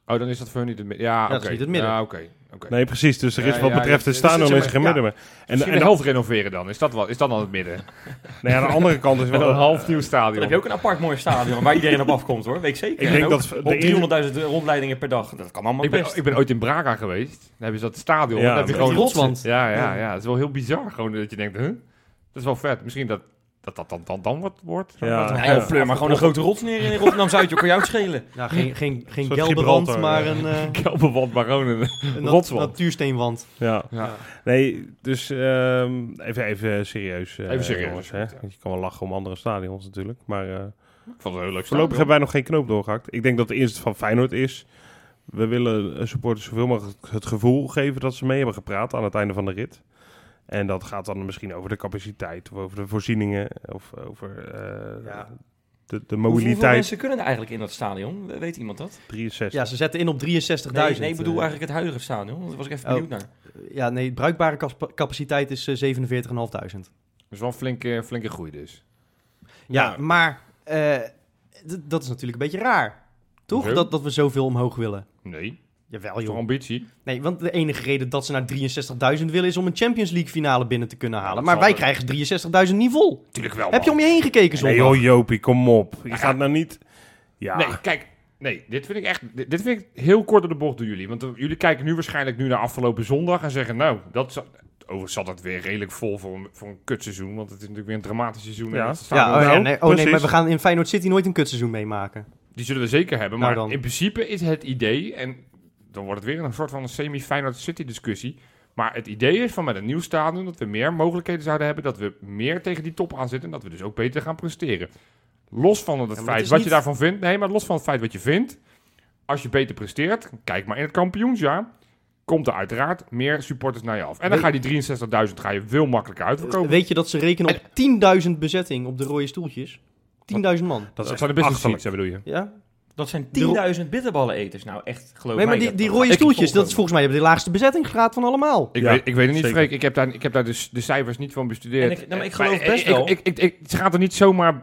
D: oh, dan is dat voor hun niet het midden. Ja,
B: dat is
D: oké.
B: niet het midden.
D: Ja, oké. oké.
A: Nee, precies. Dus er is
D: Ja,
A: wat
D: ja,
A: betreft
D: ja,
A: het
D: dus zit
A: stadion
D: je
A: is
D: met-
A: er geen midden meer. En,
D: Misschien
A: en
D: de
A: nou
D: helft renoveren dan. Is dat, wel, is dat dan het midden?
A: ja, aan de andere kant is
D: Met een
A: wel
D: half nieuw
C: Dan
D: stadion.
C: heb je ook een apart mooi stadion waar iedereen op afkomt hoor, weet ik zeker.
A: Ik denk
C: En ook
A: dat de
C: op
A: ene-
C: 300.000 rondleidingen per dag, dat kan allemaal
D: ik, ben,
C: best.
D: ik ben ooit in Braga geweest. Daar hebben ze dat stadion.
A: Ja,
D: daar heb je
A: met
D: gewoon
B: die rotswand.
D: Ja, ja, ja. Het is wel heel bizar. Gewoon dat je denkt, huh? Dat is wel vet. Misschien dat dat, dat dan, dan, dan wat wordt.
A: Ja.
C: Nou, joh, Fleur, maar gewoon een grote rots neer in Rotterdam-Zuid, joh, kan jou het schelen.
B: Ja, Nou, geen, geen, geen
A: soort
B: gelderwand,
A: Gibraltar,
B: maar
A: ja.
B: een, eh,
D: Kelpenwand, Baronen.
B: een nat-
D: Rotswand.
B: natuursteenwand.
A: Ja.
D: Ja.
A: Nee, dus ehm, even, even serieus. eh,
D: Even serieus.
A: jongens, hè? Want je kan wel lachen om andere stadions natuurlijk. Maar eh,
D: Ik vond het heel leuk
A: voorlopig
D: stadion.
A: hebben wij nog geen knoop doorgehakt. Ik denk dat de eerste van Feyenoord is. We willen eh, supporters zoveel mogelijk het gevoel geven dat ze mee hebben gepraat aan het einde van de rit. En dat gaat dan misschien over de capaciteit, of over de voorzieningen, of over eh,
B: Ja.
A: de, de
C: Hoe- Hoeveel
A: mobiliteit.
C: mensen kunnen er eigenlijk in dat stadion? We- Weet iemand dat?
A: 63.
B: Ja, ze zetten in op 63.000.
C: Nee, nee, ik bedoel
B: eh.
C: eigenlijk het huidige stadion. want Daar was ik even
B: Oh.
C: benieuwd naar.
B: Ja, nee, bruikbare kas- capaciteit is eh, 47.500.
D: Dat is wel een flinke, flinke groei dus.
B: Ja,
A: Ja.
B: maar eh, d- dat is natuurlijk een beetje raar. Toch?
D: Hoezo?
B: Dat, dat we zoveel omhoog willen.
D: Nee,
B: Jawel,
D: toch
B: joh.
D: ambitie.
B: Nee, want de enige reden dat ze naar 63.000 willen is om een Champions League finale binnen te kunnen halen.
D: dat
B: Maar
D: zal
B: wij
D: wel.
B: krijgen 63.000 niet vol.
D: Tuurlijk wel,
B: Heb je om je heen gekeken zondag?
A: Nee joh, Jopie, kom op. Je gaat nou niet... Ja,
D: Nee, kijk. Nee, dit vind ik echt... Dit dit vind ik heel kort op de bocht door jullie. Want eh, jullie kijken nu waarschijnlijk nu naar afgelopen zondag en zeggen... Nou, dat... zal- Overigens zat het weer redelijk vol voor een, voor een kutseizoen. Want het is natuurlijk weer een dramatisch seizoen. en
A: Ja.
D: dat stadion-
B: ja, oh, ja,
A: Nou,
B: nee, oh nee,
A: precies.
B: maar we gaan in Feyenoord City nooit een kutseizoen meemaken.
D: Die zullen we zeker hebben.
B: Nou
D: Maar
B: dan.
D: in principe is het idee, en dan wordt het weer een soort van een semi-Feyenoord City discussie. Maar het idee is van met een nieuw stadion dat we meer mogelijkheden zouden hebben. Dat we meer tegen die top aan zitten. En dat we dus ook beter gaan presteren. Los van het
B: maar het
D: feit
B: is
D: wat je
B: niet-
D: daarvan vindt. Nee, maar los van het feit wat je vindt. Als je beter presteert, kijk maar in het kampioensjaar. Komt er uiteraard meer supporters naar je af. En dan ga je die 63.000 ga je veel makkelijker uitverkopen.
B: Weet je dat ze rekenen op 10.000 bezetting op de rode stoeltjes? 10.000 man.
A: dat is
D: dat
A: echt
D: zijn de beste
A: achterlijk.
D: seats, hè, bedoel je?
B: Ja?
C: Dat zijn
B: De ro-
C: 10.000 bitterballeneters. Nou, echt,
B: Nee,
C: geloof mij,
B: maar die,
C: dat-
B: die
C: dat
B: rode
C: ga ik Nou, niet
B: stoeltjes, dat is
C: volgen.
B: volgens mij hebben de laagste bezettingsgraad van allemaal.
D: Ik,
A: Ja,
D: weet, ik weet het niet,
A: zeker.
D: Freek. Ik heb daar, ik heb daar dus de, de cijfers niet van bestudeerd.
C: En ik- nou, maar ik
D: Maar
C: geloof
D: ik-
C: best
D: ik-
C: wel.
D: ik- ik- ik- ze gaat er niet zomaar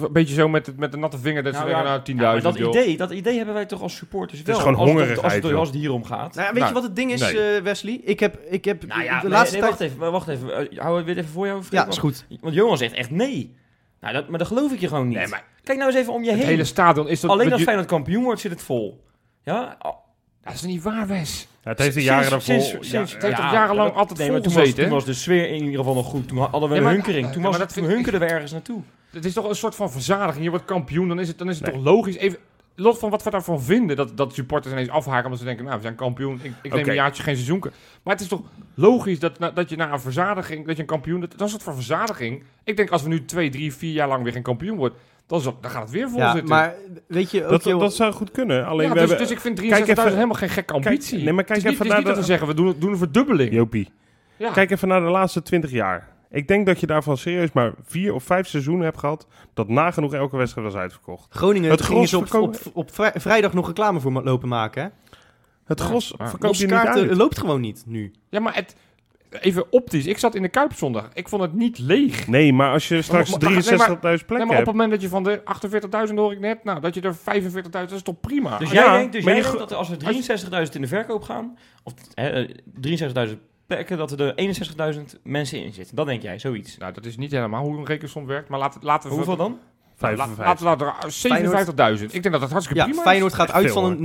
D: een beetje zo met, het, met de natte vinger dat ze
C: Nou
D: zeggen,
C: ja,
D: nou, 10.000.
C: Ja, maar dat
D: joh.
C: idee, dat idee hebben wij toch als supporters
A: is
C: wel.
A: gewoon
C: als het- als,
A: hongerigheid,
C: het,
A: joh.
C: als het hier om gaat.
B: Nou, ja, weet
D: Nou,
B: je wat het ding is,
D: nee.
B: eh, Wesley? Ik heb, ik heb
C: Nou ja,
B: de
C: nee,
B: laatste
C: nee,
B: tijd...
C: wacht even, maar wacht even. Eh, Hou het weer even voor jou, Freek,
B: ja,
C: want-
B: is goed.
C: Want Johan zegt echt nee. Nou, dat, maar dat geloof ik je gewoon niet.
D: Nee, maar
C: Kijk nou eens even om je
D: het
C: heen.
D: hele stadion is dat...
C: Alleen
D: met
C: als
D: ju-
C: Feyenoord kampioen wordt, zit het vol. Ja? al-
D: Dat is niet waar, Wes.
A: Ja, het heeft de
C: sinds-
A: jaren daarvoor...
C: sinds-
A: ja,
C: sinds-
A: ja,
D: Het heeft
C: ja,
D: toch jarenlang
C: dat-
D: altijd
C: nee,
D: vol
C: maar toen was,
D: gezeten,
C: toen
D: hè?
C: was de sfeer in ieder geval nog goed. Toen hadden we
D: Nee,
C: een
D: maar-
C: hunkering. Toen,
D: maar
C: was,
D: dat
C: het-
D: vind
C: toen hunkerden we ergens naartoe.
D: Het is toch een soort van verzadiging. Je wordt kampioen, dan is het, dan is het
A: Nee.
D: toch logisch. Even, los van wat we daarvan vinden, dat, dat supporters ineens afhaken omdat ze denken, nou, we zijn kampioen, ik, ik neem
A: Oké.
D: een jaartje geen seizoen. Maar het is toch logisch dat, na- dat je na een verzadiging, dat je een kampioen, dat, dat is het voor verzadiging. Ik denk, als we nu twee, drie, vier jaar lang weer geen kampioen worden, dan, is dat- dan gaat het weer vol
B: Ja,
D: zitten.
B: maar weet je ook,
A: dat,
B: joh,
A: dat zou goed kunnen. Alleen
D: ja,
A: we
D: dus,
A: hebben...
D: dus ik vind 63.000
A: even-
D: helemaal geen gekke
A: Kijk-
D: ambitie.
A: nee, maar kijk
D: het is niet, het
A: even
D: is
A: naar
D: niet dat
A: de-
D: we zeggen, we doen, we doen een verdubbeling.
A: Jopie.
D: Ja.
A: Kijk even naar de laatste 20 jaar. Ik denk dat je daarvan serieus maar vier of vijf seizoenen hebt gehad... dat nagenoeg elke wedstrijd was uitverkocht.
B: Groningen
A: het
B: het gingen
A: gros
B: ze op, op,
A: verkopen-
B: op vrij- vrijdag nog reclame voor ma- lopen maken, hè?
A: Het gros
D: ja.
A: verkoopt
B: Ons
A: je niet
B: kaart eh,
A: uit.
B: loopt gewoon niet nu.
D: ja, maar het, even optisch. Ik zat in de Kuip zondag. Ik vond het niet leeg.
A: Nee, maar als je straks
D: maar- maar- nee,
A: 63.000
D: maar-
A: plekken
D: nee, maar op
A: hebt...
D: het moment dat je van de 48.000 hoor ik net, nou, dat je er 45.000, dat is toch prima?
C: Dus
A: Ja,
C: jij denkt, dus
A: maar
C: jij
A: je
C: denkt dat er als er 63.000 in de verkoop gaan, of hè, eh, 63.000 plekken, dat er er 61.000 mensen in zitten. Dat denk jij, zoiets.
D: nou, dat is niet helemaal hoe een rekensom werkt, maar laten, laten we...
C: Hoeveel dan?
D: Nou, la-
A: 55.
D: laten we er 57.000. Ik denk dat dat hartstikke
B: Ja,
D: prima
B: Feyenoord gaat uit
A: Veel,
B: van een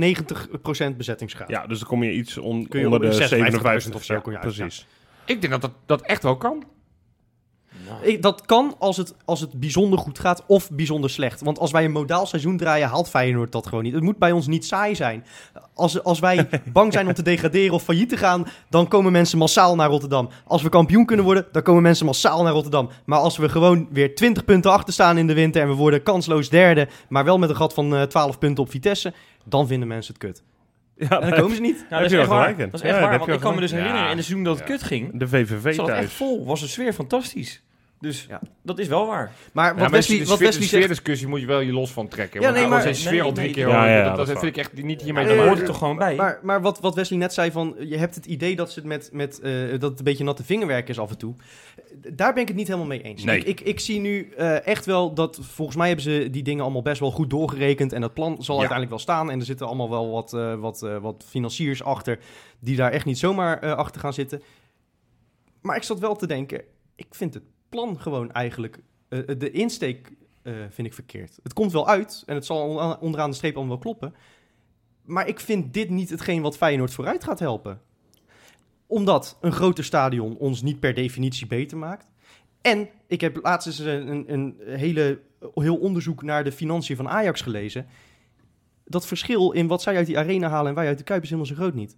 B: 90% bezettingsgraad.
A: Ja, dus dan kom je iets on-
B: Kun je
A: onder
B: op
A: de
B: 56.000
A: 57
B: of zo kom je uit,
A: Precies.
D: is. Ik denk dat, dat dat echt wel kan.
C: Nou,
B: Ik- dat kan als het, als het bijzonder goed gaat of bijzonder slecht. Want als wij een modaal seizoen draaien, haalt Feyenoord dat gewoon niet. Het moet bij ons niet saai zijn. Als, als wij bang zijn om te degraderen of failliet te gaan, dan komen mensen massaal naar Rotterdam. Als we kampioen kunnen worden, dan komen mensen massaal naar Rotterdam. Maar als we gewoon weer 20 punten achter staan in de winter en we worden kansloos derde, maar wel met een gat van eh 12 punten op Vitesse, dan vinden mensen het kut.
A: Ja,
B: En dan komen ze niet.
C: Nou, dat
A: Heb je
C: is
A: wel
C: echt waar.
A: gelijk in.
C: Dat is
A: Ja,
C: echt
A: daar
C: waar,
A: heb
C: want
A: je
C: ik
A: wel
C: kan me dus
D: gelijk in.
C: herinneren, in het seizoen dat het
D: Ja.
C: kut ging,
A: De VVV
C: zat het echt
A: thuis.
C: vol, was de sfeer fantastisch. Dus
B: Ja.
C: dat is wel waar.
B: Maar wat
D: Ja,
B: Wesley,
D: de
B: wat
D: sfeer-
B: Wesley
D: de
B: zegt,
D: sfeerdiscussie moet je wel je los van trekken.
B: Ja,
D: want
B: nee,
D: nou,
B: maar-
D: zijn sfeer
C: nee,
D: al
C: nee,
D: drie keer
A: nee.
D: hoor.
A: Ja, ja,
D: dat,
A: dat
D: dat
A: is
D: vind ik echt niet hiermee
C: Maar
D: te
B: eh,
C: daar hoort
D: maken.
C: het toch gewoon bij.
B: Maar, maar wat, wat Wesley net zei van, je hebt het idee dat ze het met, met eh, dat het een beetje natte vingerwerk is af en toe. Daar ben ik het niet helemaal mee eens.
D: Nee.
B: Ik, ik, ik zie nu eh, echt wel dat, volgens mij hebben ze die dingen allemaal best wel goed doorgerekend. En dat plan zal
D: Ja.
B: uiteindelijk wel staan. En er zitten allemaal wel wat, eh, wat, eh, wat financiers achter, die daar echt niet zomaar eh, achter gaan zitten. Maar ik zat wel te denken, ik vind het plan gewoon eigenlijk, eh, de insteek eh, vind ik verkeerd. Het komt wel uit en het zal on- onderaan de streep allemaal wel kloppen. Maar ik vind dit niet hetgeen wat Feyenoord vooruit gaat helpen. Omdat een groter stadion ons niet per definitie beter maakt. En ik heb laatst eens een, een, een hele, eh, heel onderzoek naar de financiën van Ajax gelezen. Dat verschil in wat zij uit die arena halen en wij uit de Kuip is helemaal zo groot niet.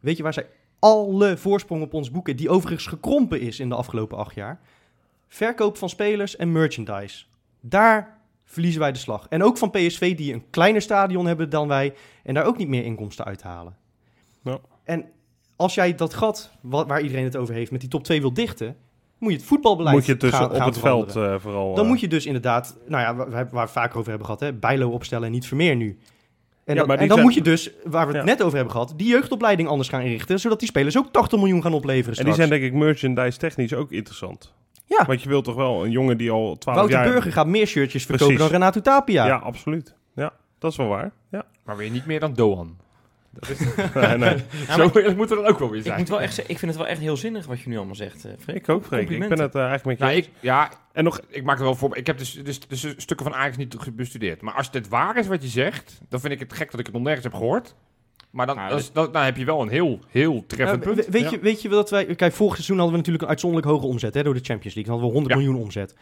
B: Weet je waar zij alle voorsprong op ons boeken, die overigens gekrompen is in de afgelopen acht jaar? Verkoop van spelers en merchandise. Daar verliezen wij de slag. En ook van PSV, die een kleiner stadion hebben dan wij en daar ook niet meer inkomsten uit halen.
A: Ja.
B: En als jij dat gat, wa- waar iedereen het over heeft, met die top 2 wil dichten, moet je het voetbalbeleid
A: Moet je tussen
B: gaan-
A: op
B: gaan
A: het
B: veranderen.
A: veld eh, vooral...
B: Dan
A: eh,
B: moet je dus inderdaad, nou ja, waar, waar we het vaker over hebben gehad, hè, Bijlo opstellen en niet Vermeer nu. En,
A: Ja,
B: dan-
A: maar
B: en dan
A: die zijn-
B: moet je dus, waar we het
A: Ja.
B: net over hebben gehad, die jeugdopleiding anders gaan inrichten, zodat die spelers ook 80 miljoen gaan opleveren
A: En die
B: straks.
A: zijn denk ik merchandise technisch ook interessant.
B: Ja.
A: Want je wilt toch wel een jongen die al 12
B: Wouter
A: jaar...
B: Burger gaat meer shirtjes verkopen
A: Precies.
B: dan Renato Tapia.
A: Ja. absoluut. Ja, dat is wel waar. Ja.
D: Maar weer niet meer dan Doan.
A: nee, nee.
C: Ja,
D: Zo
C: maar
D: eerlijk moeten we dan ook wel weer
C: ik,
D: zijn.
C: moet wel echt, zeggen, ik vind het wel echt heel zinnig wat je nu allemaal zegt, eh, Freek.
A: Ik ook, Freek. Ik ben
C: Complimenten.
A: het eh, eigenlijk met je...
D: Nou, ik, ja,
A: En nog...
D: ik maak er wel voor. Ik heb dus, dus, dus stukken van Ajax niet goed bestudeerd. Maar als dit waar is wat je zegt, dan vind ik het gek dat ik het nog nergens heb gehoord. Maar dan,
C: Nou,
D: dat is- dat- dan heb je wel een heel, heel
B: Nou,
D: treffend punt.
B: we- weet,
A: Ja.
B: je, weet je dat wij... Kijk, vorig seizoen hadden we natuurlijk een uitzonderlijk hoge omzet hè, door de Champions League. Dan hadden we 100
D: Ja.
B: miljoen omzet.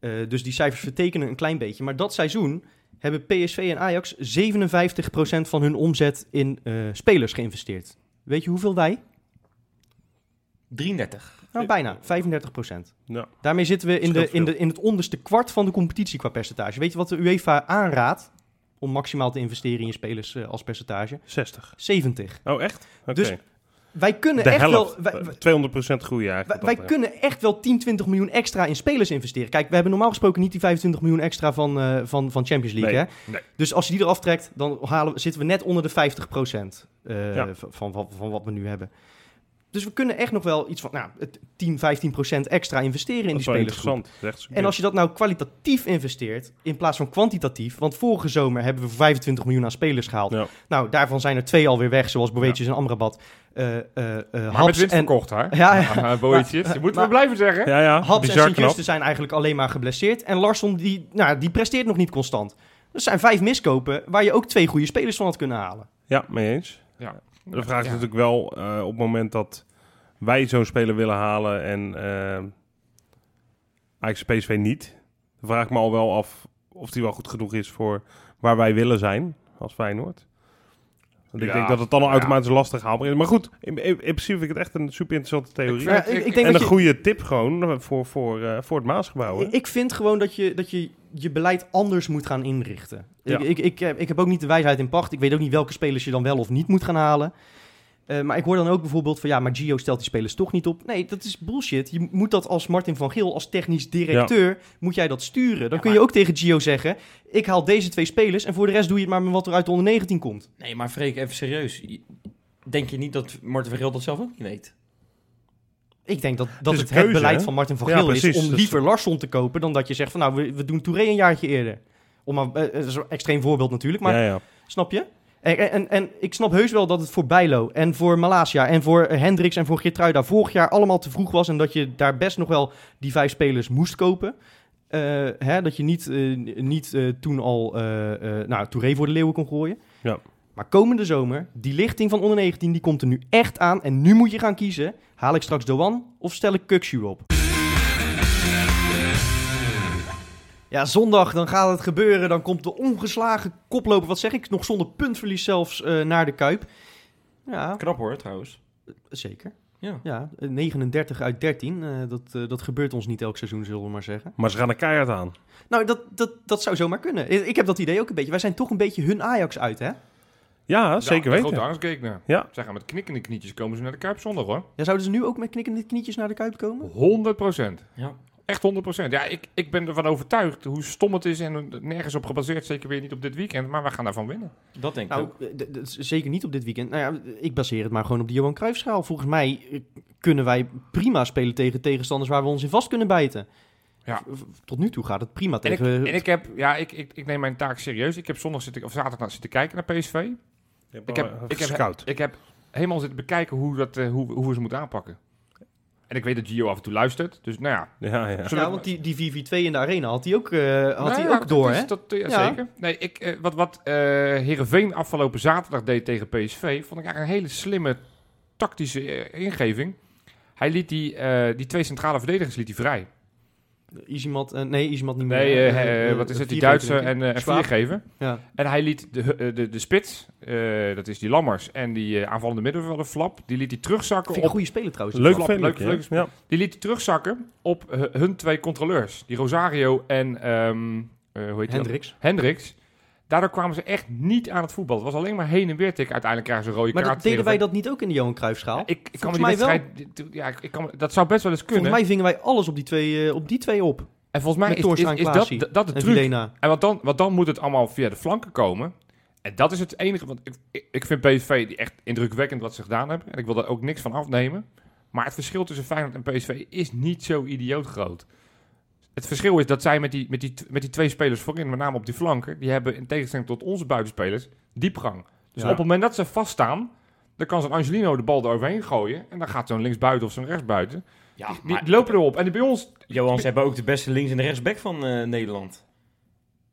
B: Eh, dus die cijfers vertekenen een klein beetje. Maar dat seizoen hebben PSV en Ajax 57% van hun omzet in eh, spelers geïnvesteerd. Weet je hoeveel wij?
C: 33.
B: Nou, bijna. 35
A: Ja.
B: Daarmee zitten we in, de,
A: Scheelt
B: in, de, in het onderste kwart van de competitie qua percentage. Weet je wat de UEFA aanraadt om maximaal te investeren in je spelers eh, als percentage?
A: 60.
B: 70.
A: Oh, echt? Oké.
B: Dus- Wij kunnen
A: De
B: echt
A: helft.
B: wel... wij- wij-
A: eh, 200% groei
B: Wij,
A: eigenlijk.
B: wij kunnen echt wel 10, 20 miljoen extra in spelers investeren. Kijk, we hebben normaal gesproken niet die 25 miljoen extra van, eh, van, van Champions League.
A: Nee,
B: hè?
D: nee.
B: Dus als je die eraf trekt, dan halen, we- zitten we net onder de 50 eh,
A: Ja.
B: van, van, van, van wat we nu hebben. Dus we kunnen echt nog wel iets van nou, het 10, 15 extra investeren in
A: dat
B: die
A: is wel
B: spelers.
A: interessant. Dat is echt super.
B: En als je dat nou kwalitatief investeert, in plaats van kwantitatief. Want vorige zomer hebben we 25 miljoen aan spelers gehaald.
A: Ja.
B: Nou, daarvan zijn er twee alweer weg, zoals Boetjes en Amrabat. Eh eh eh,
D: Maar met
B: Haps
D: winst
B: en,
D: verkocht, hè?
B: Ja, ja.
D: Ah, Boetjes. Je moet
B: Maar-
D: wel blijven zeggen.
A: Ja, ja.
B: Haps en
A: bizar knap.
B: Sint-Juste zijn eigenlijk alleen maar geblesseerd. En Larsson, die, nou, die presteert nog niet constant. Dat zijn vijf miskopen waar je ook twee goede spelers van had kunnen halen.
A: Ja, mee eens.
D: Ja.
A: De vraag is
D: Ja.
A: natuurlijk wel, eh, op het moment dat wij zo'n speler willen halen en ehm eigenlijk PSV niet, dan vraag ik me al wel af of die wel goed genoeg is voor waar wij willen zijn als Feyenoord. Want ik
D: Ja,
A: denk dat het dan al
D: ja.
A: automatisch lastig haalbaar is. Maar goed, in, in- in principe vind ik het echt een super interessante
D: Ik
A: theorie.
D: vind-
B: Maar Eh, ik, ik denk
A: En een
B: dat je,
A: goede tip gewoon voor, voor, eh, voor het Maasgebouw. hè?
B: Ik vind gewoon dat je, dat je je beleid anders moet gaan inrichten.
A: Ja.
B: Ik, ik, ik, eh, ik heb ook niet de wijsheid in pacht. Ik weet ook niet welke spelers je dan wel of niet moet gaan halen. Eh, maar ik hoor dan ook bijvoorbeeld van ja, maar Gio stelt die spelers toch niet op. Nee, dat is bullshit. Je moet dat als Martin van Geel, als technisch directeur, moet jij dat sturen. Dan kun je ook tegen Gio zeggen: ik haal deze twee spelers en voor de rest doe je het maar met wat er uit de onder 19 komt.
C: Nee, maar Freek, even serieus. Denk je niet dat Marten van Geel dat zelf ook niet weet?
B: Ik denk dat dat
A: is
B: het,
A: een
B: het
A: keuze,
B: beleid
A: hè?
B: van Martin van
A: Ja,
B: Geel is
A: precies.
B: om
A: Dat-
B: liever Larsson te kopen dan dat je zegt van nou, we, we doen Touré een jaartje eerder. Om maar, eh, dat is een extreem voorbeeld natuurlijk, maar
A: ja, ja.
B: Snap je? En, en, en ik snap heus wel dat het voor Bijlo en voor Malasia en voor eh, Hendricks en voor Geertruida vorig jaar allemaal te vroeg was. En dat je daar best nog wel die vijf spelers moest kopen. Eh, hè, dat je niet, eh, niet eh, toen al eh, eh, nou, Touré voor de leeuwen kon gooien.
A: Ja.
B: Maar komende zomer, die lichting van onder 19, die komt er nu echt aan. En nu moet je gaan kiezen. Haal ik straks Doan of stel ik Kukshu op? Ja, zondag dan gaat het gebeuren. Dan komt de ongeslagen koploper, wat zeg ik, nog zonder puntverlies zelfs eh, naar de Kuip. Ja,
C: Knap hoor, trouwens.
B: zeker.
C: Ja.
B: Ja, eh, 39 uit 13. eh, dat, eh, dat gebeurt ons niet elk seizoen, zullen we maar zeggen.
A: Maar ze gaan er keihard aan.
B: Nou, dat, dat, dat zou zomaar kunnen. Ik ik heb dat idee ook een beetje. Wij zijn toch een beetje hun Ajax uit, hè?
A: Ja, zeker
D: de
A: weten.
D: Grote angstgekner.
A: Ja.
D: Zij gaan met knikkende knietjes komen ze naar de Kuip zondag, hoor.
B: Ja, zouden ze nu ook met knikkende knietjes naar de Kuip komen?
D: 100 procent.
C: Ja.
D: Echt 100%. Ja, ik, ik ben ervan overtuigd hoe stom het is en nergens op gebaseerd. Zeker weer niet op dit weekend, maar we gaan daarvan winnen.
C: Dat denk ik
B: Nou,
C: ook.
B: eh, d- d- zeker niet op dit weekend. Nou ja, ik baseer het maar gewoon op de Johan Cruijffschaal. Volgens mij eh, kunnen wij prima spelen tegen tegenstanders waar we ons in vast kunnen bijten.
D: Ja.
B: V- v- Tot nu toe gaat het prima
D: En ik,
B: tegen...
D: en ik heb, ja, ik, ik, ik neem mijn taak serieus. Ik heb zondag zitten, of zaterdag nou zitten kijken naar PSV.
B: Oh,
D: Ik
A: eh,
D: heb, ik, heb, ik heb helemaal zitten bekijken hoe, dat, eh, hoe, hoe we ze moeten aanpakken. En ik weet dat Gio af en toe luistert. Dus nou ja,
A: Ja, ja.
D: Zullen
B: ja,
D: we-
B: want die, die 4 2 in de arena had hij ook, eh, had
D: Nou
B: hij
D: ja,
B: ook door,
D: dat is-
B: hè?
D: Dat, ja,
B: Ja.
D: zeker. Nee, ik, eh, wat, wat eh Heerenveen afgelopen zaterdag deed tegen PSV... vond ik eigenlijk een hele slimme tactische eh, ingeving. Hij liet die, eh, die twee centrale verdedigers liet hij vrij.
B: Izimat, eh, nee, Izimat niet
D: Nee, eh,
B: meer. Eh,
D: eh,
B: eh,
D: wat is het? Die
B: Viergever,
D: Duitser
B: denk ik.
D: en uh,
B: Schwab.
D: Viergever.
B: Ja.
D: En hij liet de, eh, de, de spits, eh, dat is die Lammers... en die eh, aanvallende middenvelder Flap, die liet hij terugzakken
B: Vind ik
D: op
B: een goede speler trouwens.
A: Leuk
D: Flap,
A: filmpje,
D: leuk-
A: hè? ja.
D: Die liet hij terugzakken op hu- hun twee controleurs. Die Rosario en ehm, eh, hoe heet die
B: Hendricks.
D: dan? Hendricks. Daardoor kwamen ze echt niet aan het voetbal. Het was alleen maar heen en weer tikken. Uiteindelijk krijgen ze een rode
B: Maar
D: kaart.
B: dat, deden wij
D: tegen-
B: dat niet ook in de Johan Cruijffschaal?
D: Ja, ik, ik kan me die
B: Volgens mij
D: wedstrijd... die- Ja, ik, ik kan, me- dat zou best wel eens kunnen.
B: Volgens mij vingen wij alles op die twee, eh, op, die twee op. eh,
D: en volgens mij
B: met
D: is,
B: Toornstra
D: is-
B: en
D: is
B: Klaasie.
D: dat, dat de
B: en
D: truc.
B: Vilena.
D: En want dan, want dan moet het allemaal via de flanken komen. En dat is het enige. Want ik- ik, ik vind PSV die echt indrukwekkend wat ze gedaan hebben. En ik wil daar ook niks van afnemen. Maar het verschil tussen Feyenoord en PSV is niet zo idioot groot. Het verschil is dat zij met die, met die, met die twee spelers voorin, met name op die flanken, die hebben in tegenstelling tot onze buitenspelers diepgang. Dus
A: Ja.
D: op het moment dat ze vaststaan, dan kan zo'n Angelino de bal eroverheen gooien. En dan gaat zo'n linksbuiten of zo'n rechtsbuiten.
C: Ja,
D: Die, die
C: maar
D: lopen erop. En die bij ons.
C: Johan, ze hebben ook de beste links- en rechtsback van eh, Nederland.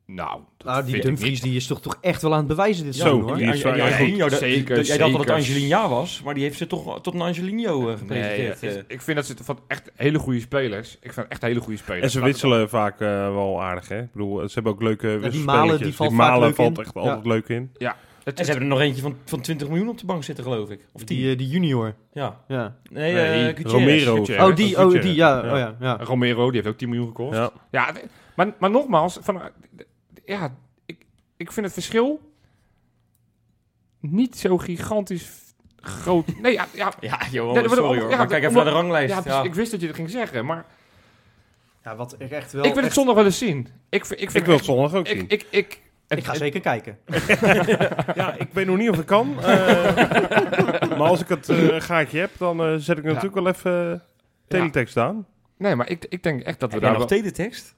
D: Nou, dat
B: Nou, die
D: vind ik
B: Dumfries
D: niet.
B: die is toch, toch echt wel aan het bewijzen dit
A: Zo,
B: seizoen, hoor.
A: die-
C: Ange-
A: is wel-
C: Ange-
A: ja, goed,
C: Angelino, dat-
D: zeker,
C: dat- Jij dacht dat het
D: zeker.
C: Angelina was, maar die heeft ze toch tot een Angelino eh, gepresenteerd.
D: Nee,
C: eh.
D: het is- ik vind dat ze het van echt hele goede spelers. Ik vind echt hele goede spelers.
A: En ze
D: Laat het
A: wisselen vaak eh, wel aardig, hè? Ik bedoel, ze hebben ook leuke
B: die
A: wisselspelletjes.
B: Malen, die valt vaak leuk
A: valt
B: in.
A: echt
B: Ja.
A: altijd leuk in.
D: dan. Het-
C: en ze hebben er nog eentje van, van 20 miljoen op de bank zitten, geloof ik. Of 10.
B: Die, eh, die junior.
C: ja.
B: Ja.
C: Nee,
D: Nee,
C: eh, Gutierrez.
A: Romero.
D: Gutierrez. Ja,
B: oh, die,
A: dat
B: oh,
A: is Gutierrez.
B: die, ja. Oh, ja, ja.
D: Romero, die heeft ook 10 miljoen gekost. Ja,
A: Ja.
D: d- maar, maar nogmaals, van, eh, ja, ik, ik vind het verschil niet zo gigantisch groot... Nee, ja, ja,
C: Ja, joh,
D: Nee, dat wordt
C: sorry
D: ook-
C: hoor.
D: ja,
C: maar kijk even
D: omdat-
C: naar de ranglijst.
D: ja,
C: Ja,
D: precies, ik wist dat je het ging zeggen, maar
B: Ja, wat ik echt wel...
D: ik wil het
B: echt-
D: zondag wel eens zien. Ik, vind- ik, vind
A: Ik wil het
D: echt-
A: zondag ook zien.
D: Ik, ik, ik, het-
B: Ik ga
D: het-
B: zeker kijken.
A: Ja, ik weet nog niet of ik kan. eh, maar als ik het eh, gaatje heb, dan eh, zet ik natuurlijk wel even eh, teletext aan.
D: Nee, maar ik, ik denk echt dat we
C: Heb
D: daar wel...
C: jij nog teletext?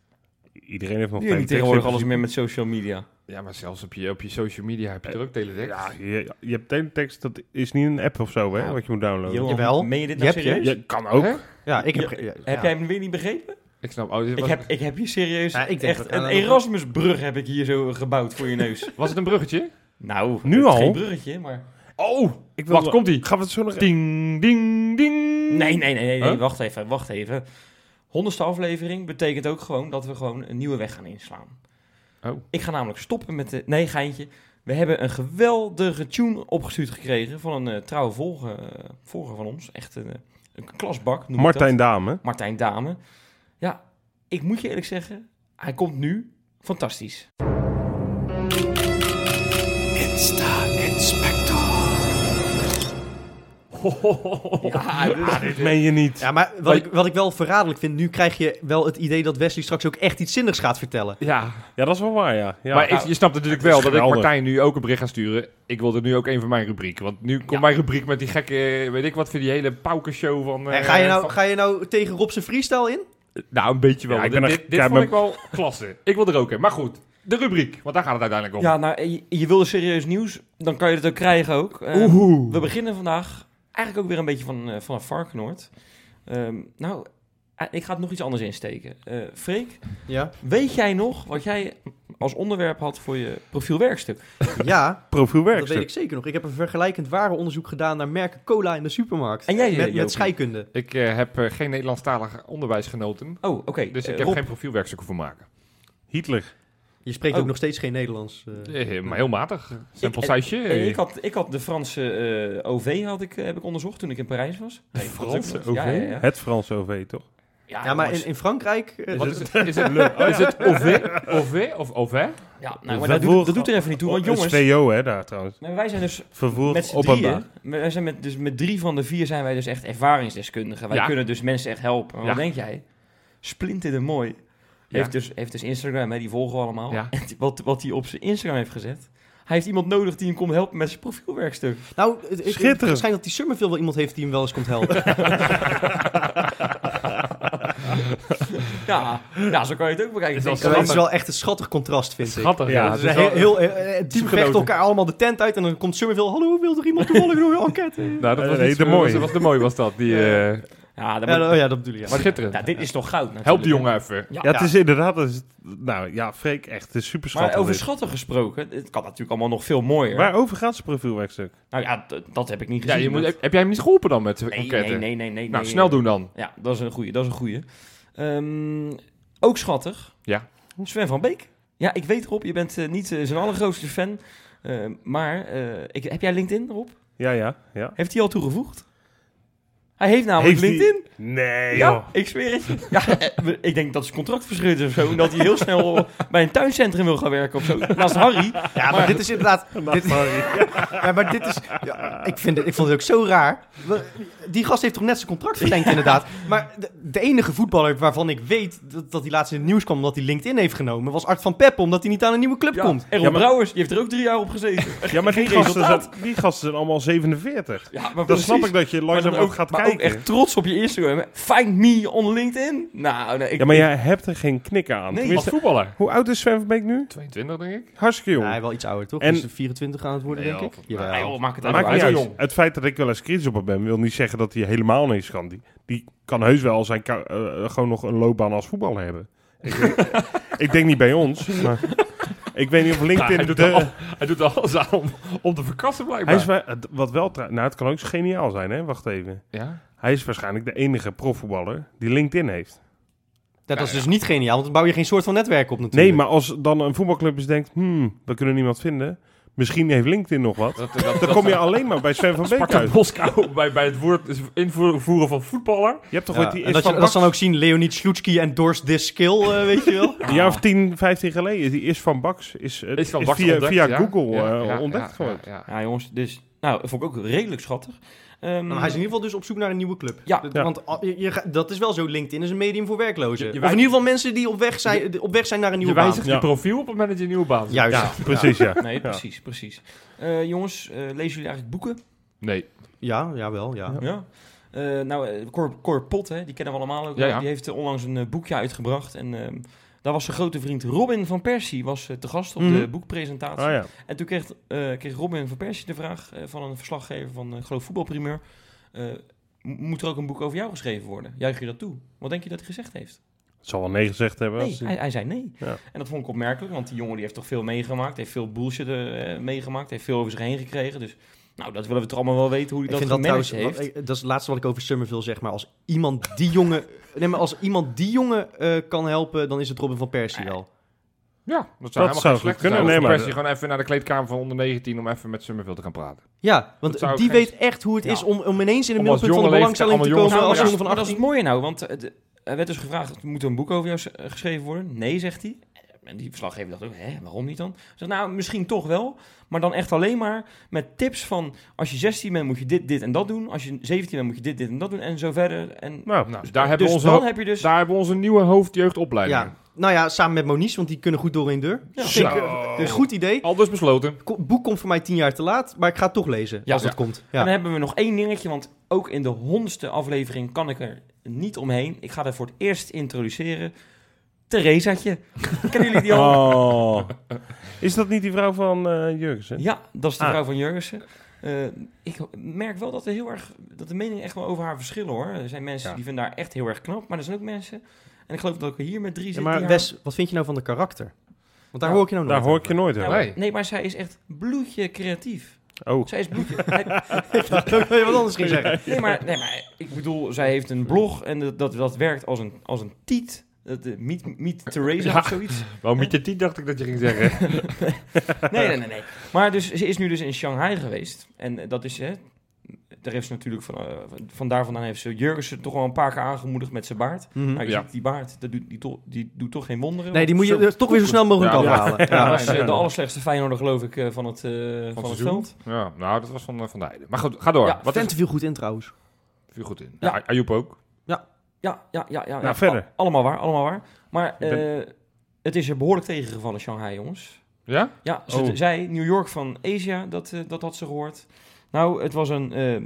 A: Iedereen heeft nog
C: Nu niet
A: teletext.
C: tegenwoordig
A: Je hebt
C: alles meer met social media.
D: Ja, maar zelfs op je, op je social media heb je
C: Eh,
D: er ook teletext.
A: Ja, je, je hebt teletext, dat is niet een app of zo, hè,
D: Ja.
A: wat je moet downloaden.
C: Johan,
B: Jawel.
C: meen je dit
B: Je
C: nou
B: hebt je.
C: serieus?
A: Je kan ook.
D: Hè?
B: Ja, ik heb... ja,
C: Heb
B: ja.
C: jij hem weer niet begrepen?
D: Ik snap. Oh, dit
C: Ik
D: was,
C: heb, ik heb hier serieus
B: Ja, ik denk dat
C: echt
B: we
C: een
B: aan-
C: Erasmusbrug heb ik hier zo gebouwd voor je neus.
D: was het een bruggetje?
C: nou,
A: Nu
C: het is
A: al?
C: Geen bruggetje, maar...
D: Oh,
A: Ik wil-
D: wacht, komt ie.
A: Gaan we het zo nog...
D: Ding, ding, ding.
C: Nee, nee, nee, nee, nee,
D: Huh?
C: wacht even, wacht even. Honderdste aflevering betekent ook gewoon dat we gewoon een nieuwe weg gaan inslaan.
D: Oh.
C: Ik ga namelijk stoppen met de... Nee, geintje. We hebben een geweldige tune opgestuurd gekregen van een eh, trouwe volger, eh, volger van ons. Echt een, eh, een klasbak. noem ik dat.
A: Martijn Dame.
C: Martijn Dame. Ja, ik moet je eerlijk zeggen, hij komt nu fantastisch.
A: Ah, dit meen je niet.
B: Ja, maar wat ik, wat ik wel verraderlijk vind, nu krijg je wel het idee dat Wesley straks ook echt iets zinnigs gaat vertellen.
D: Ja,
A: Ja, dat is wel waar, ja. ja.
D: maar ik-
A: Nou,
D: je snapt natuurlijk
A: het is
D: wel dat ik
A: geweldig.
D: Martijn nu ook een bericht ga sturen. Ik wilde nu ook een van mijn rubrieken. Want nu komt
C: Ja.
D: mijn rubriek met die gekke, weet ik wat, voor die hele paukershow van... eh,
B: En ga je nou,
D: van-
B: ga je nou tegen Rob zijn freestyle in?
D: nou, een beetje wel.
A: Ja, ik
D: dit
A: ben
D: dit,
A: echt-
D: dit
A: kijk,
D: vond ik
A: mijn-
D: wel klasse. Ik wil er ook in. Maar goed, de rubriek. Want daar gaat het uiteindelijk om.
C: Ja, nou, je, je wilde serieus nieuws, dan kan je het ook krijgen ook. Eh,
D: Oeh.
C: We beginnen vardaag eigenlijk ook weer een beetje van, eh vanaf Varkenoord. Ehm, nou, eh, ik ga het nog iets anders insteken. Eh Freek,
B: Ja.
C: weet jij nog wat jij als onderwerp had voor je profielwerkstuk?
B: Ja, dat weet
A: profielwerkstuk.
B: ik zeker nog. Ik heb een vergelijkend ware onderzoek gedaan naar merken cola in de supermarkt.
C: En jij, eh,
B: met,
C: Jopie?
B: met scheikunde.
D: Ik eh, heb eh, geen Nederlandstalig onderwijsgenoten.
C: Oh, oké.
D: Dus ik
C: eh,
D: heb
C: Rob,
D: geen profielwerkstukken voor maken.
A: Hitler.
B: Je spreekt
C: Oh.
B: ook nog steeds geen Nederlands. eh.
D: Eh, maar heel matig. Simpel
C: eh,
D: sausje.
C: eh,
D: eh.
C: ik, had, ik had de Franse eh, OV had ik, eh, heb ik onderzocht toen ik in Parijs was. Nee,
D: Franse
C: dat- ja,
D: OV?
C: ja, ja.
A: Het Franse OV, toch?
C: Ja,
B: Ja, maar
C: jongens.
B: in, in Frankrijk... eh,
D: Wat is het? Is het, oh, is het OV? OV of OV?
C: Ja, nou, maar
A: Wat
C: dat,
A: voor-
C: doet, dat doet er even niet toe. Want
A: Het
C: jongens,
A: is VO, hè, daar trouwens.
C: nee, wij zijn dus met
A: Vervoer
C: z'n
A: openbaar.
C: drieën. Wij zijn met, dus met drie van de vier zijn wij dus echt ervaringsdeskundigen. Wij
D: Ja.
C: kunnen dus mensen echt helpen. Maar
D: Ja.
C: Wat denk jij? Splinter de Mooi heeft, dus, heeft dus Instagram, hè, die volgen we allemaal.
D: Ja.
C: En die- wat, wat hij op zijn Instagram heeft gezet. Hij heeft iemand nodig die hem komt helpen met zijn profielwerkstuk.
B: Nou, het- het,
A: Schitterend.
B: het schijnt dat die Summerfield wel iemand heeft die hem wel eens komt helpen.
C: Ja, ja, zo kan je het ook bekijken.
D: Dat is
C: Ik denk,
B: dat is
D: Schattig.
B: wel echt een schattig contrast, vind ik.
D: Schattig,
A: Ja,
D: ja.
B: Dat
D: Het is
B: is heel,
D: wel-
B: heel, eh, eh, ze
D: teamgenoten.
B: vechten elkaar allemaal de tent uit en dan komt Summerfield... Hallo, wil er iemand toevallig door een enquête?
D: Nou, dat was
A: Nee,
D: niet
A: de
D: zo-
A: mooi.
D: Dat was de mooi, was dat. Die, eh,
C: ja, dan
B: Ja,
C: moet-
B: dat- ja, dat bedoel je. ja.
D: schitterend.
C: nou, dit is toch goud natuurlijk.
D: Help die jongen even.
A: Ja, het is inderdaad... het is- nou ja, Freek, echt, het is super
C: Maar
A: schattig.
C: over
A: dit.
C: schatten gesproken, het kan natuurlijk allemaal nog veel mooier.
A: Waarover gaat zijn profielwerkstuk?
C: Nou ja, d- dat heb ik niet
D: Ja,
C: gezien.
D: je moet,
C: Dat-
D: heb, heb jij hem niet geholpen dan met de
C: nee, nee,
D: enquête?
C: nee, nee, nee, nee.
D: Nou,
C: nee.
D: snel doen dan.
C: Ja, dat is een goeie, dat is een goeie. Ehm, ook schattig.
D: Ja.
C: Sven van Beek. Ja, ik weet Rob, je bent eh, niet eh, zijn allergrootste fan. eh, maar eh, ik, heb jij LinkedIn, Rob?
A: Ja, ja, ja.
C: Heeft hij al toegevoegd? Hij heeft namelijk
A: Heeft die-
C: LinkedIn.
A: Nee,
C: Ja,
A: joh.
C: ik zweer het. je. Ja, eh, we- ik denk dat zijn contract verscheurd is of zo. En dat hij heel snel eh, bij een tuincentrum wil gaan werken of zo. Naast Harry.
B: Ja, maar dit is inderdaad... dit- Ja, maar dit is... Ja, ik, vind het, ik vond het ook zo raar. We- Die gast heeft toch net zijn contract verlengd, inderdaad. Maar de, de enige voetballer waarvan ik weet dat, dat hij laatst in het nieuws kwam... omdat hij LinkedIn heeft genomen, was Art van Peppen... omdat hij niet aan een nieuwe club
C: Ja,
B: komt.
C: En Ron
A: Ja, maar-
C: Brouwers, die heeft er ook drie jaar op gezeten.
A: Ja, maar die
C: Geen
A: gasten,
C: resultaat.
A: zijn, die gasten zijn allemaal 47.
C: Ja, maar
A: Dan snap
C: precies.
A: ik dat je
C: Maar dan
A: langzaam ook gaat
C: maar
A: kijken.
C: ook echt trots op je Instagram. hè. Find me on LinkedIn. Nou, nee, ik,
A: Ja, maar jij hebt er geen knikken aan.
C: Nee,
A: Tenminste,
D: Als voetballer.
A: hoe oud is Sven van Beek nu?
D: 22, denk ik.
A: Hartstikke jong.
B: Ja, hij wel iets ouder, toch?
A: En-
B: Hij is 24 aan het worden,
D: Nee,
B: denk ik.
D: joh.
B: Jawel.
C: Nee, joh, maak het
A: Dat
C: uit.
A: maakt niet
D: hij
A: uit.
D: is jong.
A: Het feit dat ik wel eens kritisch op hem ben, wil niet zeggen dat hij helemaal niks kan. Die, die kan heus wel zijn ka- eh, gewoon nog een loopbaan als voetballer hebben. Ik, denk- ik denk niet bij ons, maar ik weet niet of
D: Ja,
A: LinkedIn...
D: hij, doet
A: de-
D: er al- hij doet er alles aan om, om te verkassen,
A: hij
D: blijkbaar.
A: is, wa- wat wel, tra- nou het kan ook geniaal zijn, hè? Wacht even.
D: ja?
A: Hij is waarschijnlijk de enige profvoetballer die LinkedIn heeft.
B: Dat is dus niet geniaal, want dan bouw je geen soort van netwerk op natuurlijk.
A: Nee, maar als dan een voetbalclub eens denkt, hmm, we kunnen niemand vinden. Misschien heeft LinkedIn nog wat.
D: Dat, dat,
A: Dan kom je alleen maar bij Sven van Beek
D: Sparta
A: uit.
D: Moskou bij, bij het woord dus invoeren van voetballer.
A: Je hebt toch
B: Ja,
A: ooit die
B: en dat,
A: Isvan
B: je, dat ze
A: Baks-
B: dan ook zien, Leonid Slutski en Dorst This Skill, eh, weet je wel.
A: Een jaar of 10, 15 geleden, die is van Baks. Is, eh,
D: Is van
A: is
D: Baks
A: via,
D: ontdekt,
A: via
D: ja.
A: Google
D: Ja,
A: eh,
D: ja,
A: ontdekt
D: ja,
A: geworden.
D: ja, ja.
C: Ja, jongens, dus Nou, dat vond ik ook redelijk schattig. Ehm,
B: Maar hij is in ieder geval dus op zoek naar een nieuwe club.
C: Ja.
B: Dat-
A: Ja.
B: Want ah, je, je ga- dat is wel zo. LinkedIn is een medium voor werklozen.
D: Je- je
B: of in
D: wij-
B: ieder geval mensen die op weg zijn, op weg zijn naar een
D: Je
B: nieuwe baan.
D: wijzigt
A: Ja.
D: je profiel op het moment dat je een nieuwe baan hebt.
B: Juist.
A: Ja, precies, ja.
C: Nee, precies, precies. Eh, jongens, eh, lezen jullie eigenlijk boeken?
D: Nee.
B: Ja, jawel, ja.
C: Ja. Eh, nou, eh, Cor, Cor Pot, hè, die kennen we allemaal ook.
D: Ja,
C: wel.
D: ja.
C: Die heeft eh, onlangs een eh, boekje uitgebracht. En ehm, daar was zijn grote vriend Robin van Persie was, eh, te gast op
B: Mhm.
C: de boekpresentatie.
A: Ah ja.
C: En toen kreeg, eh, kreeg Robin van Persie de vraag eh, van een verslaggever van eh, ik geloof Voetbalprimeur. eh, "Mo- moet er ook een boek over jou geschreven worden? Juich je dat toe? Wat denk je dat hij gezegd heeft?
A: Het zal wel nee gezegd hebben.
C: Nee,
A: als die-
C: hij, hij zei nee.
A: Ja.
C: En dat vond ik opmerkelijk, want die jongen die heeft toch veel meegemaakt. Heeft veel bullshit eh, meegemaakt. Heeft veel over zich heen gekregen. Dus nou, dat willen we toch allemaal wel weten hoe
B: Ik
C: hij dat
B: vind dat
C: gemanaged
B: trouwens,
C: heeft.
B: wat- ik- dat is het laatste wat ik over Summerville zeg, maar als iemand die jongen, nee, maar als iemand die jongen eh, kan helpen, dan is het Robin van
D: Eh.
B: Persie wel.
D: Ja, dat zou helemaal
A: zou
D: geen slecht
A: goed kunnen,
D: kunnen.
A: nee,
D: Zijn.
A: maar-
D: Nee, gewoon even naar de kleedkamer van onder 19 om even met Summerville te gaan praten.
B: Ja,
D: Dat
B: want
D: zou
B: die
D: geen-
B: weet echt hoe het
C: Ja.
B: is om, om ineens in het
D: Om als
B: middelpunt van de
D: jonge
B: belangstelling te
D: leeftijd
B: komen
D: allemaal
C: Nou,
B: als
C: maar
D: jongens-
B: jongen
C: dat,
B: van
C: maar dat is
B: 18.
C: het mooie nou, want eh, de- er werd dus gevraagd, moet er een boek over jou s- eh, geschreven worden? Nee, zegt hij. En die verslaggever dacht ook, hè, waarom niet dan? Zegt, nou, misschien toch wel, maar dan echt alleen maar met tips van, als je 16 bent moet je dit, dit en dat doen, als je 17 bent moet je dit, dit en dat doen, en zo verder. En
A: Nou,
D: Nou, daar, hebben
C: dus
D: we onze,
C: dan
D: ho-
C: heb je dus...
D: daar hebben we onze nieuwe hoofdjeugdopleiding.
B: Ja, nou ja, samen met Monies, want die kunnen goed door één deur.
C: Ja.
B: Vind ik,
D: Zo.
B: eh, een goed idee.
D: Al dus besloten.
B: Ko- boek komt voor mij tien jaar te laat, maar ik ga het toch lezen
C: Ja.
B: als dat komt. Ja.
C: En dan hebben we nog één dingetje, want ook in de honderdste aflevering kan ik er niet omheen. Ik ga er voor het eerst introduceren. Theresaatje. Kennen jullie die al?
A: Oh. Is dat niet die vrouw van eh Jurgensen?
C: Ja, dat is de
A: Ah.
C: vrouw van Jurgensen. Eh, ik merk wel dat er heel erg dat de meningen echt wel over haar verschillen hoor. Er zijn mensen
A: Ja.
C: die vinden haar echt heel erg knap, maar er zijn ook mensen. En ik geloof dat ik hier met drie zit.
B: maar
C: die haar-
B: Wes, wat vind je nou van de karakter? Want daar
C: Nou,
B: hoor ik je nou
A: Daar
B: nooit
A: hoor ik je nooit
C: Ja,
A: over.
C: maar-
D: Nee.
C: nee, maar zij is echt bloedje creatief.
A: Oh,
C: Zij is bloedje. nee,
B: over. Ik wil je wat anders ging zeggen.
C: nee, maar, nee, maar ik bedoel, zij heeft een blog en dat, dat, dat werkt als een, als een tiet. Dat, eh, meet, meet Theresa
D: Ja.
C: of zoiets.
D: Waarom met je 10 dacht ik dat je ging zeggen?
C: Nee, nee, nee, nee. Maar dus, ze is nu dus in Shanghai geweest. En eh, dat is, hè, daar heeft ze natuurlijk van, eh, van daar vandaan heeft ze Jurgensen toch wel een paar keer aangemoedigd met zijn baard.
B: Mhm.
C: Nou, je
D: Ja.
C: ziet die baard, dat doet, die, to- die doet toch geen wonderen.
B: Nee, die moet je
C: Zo-
B: eh, toch weer zo snel mogelijk
D: Ja, ja.
B: afhalen.
C: Ja,
B: Ja.
C: dat is, eh, de allerslechtste Feyenoorder, geloof ik, eh, van het, eh, van het
D: seizoen?
C: veld.
D: ja, nou, dat was van, eh, van de Heide. Maar goed, ga door.
C: Ja,
D: Wat is
B: Vent viel goed in trouwens.
D: viel goed in?
C: Ja.
D: Ja. Ajoep ook.
C: Ja, ja, ja. ja, ja.
A: Nou, verder.
C: Al- allemaal waar, allemaal waar. Maar
A: Ik ben-
C: eh, het is er behoorlijk tegengevallen, Shanghai, jongens.
D: Ja?
C: Ja, ze
A: Oh.
C: zei New York van Asia, dat, eh, dat had ze gehoord. Nou, het was een eh,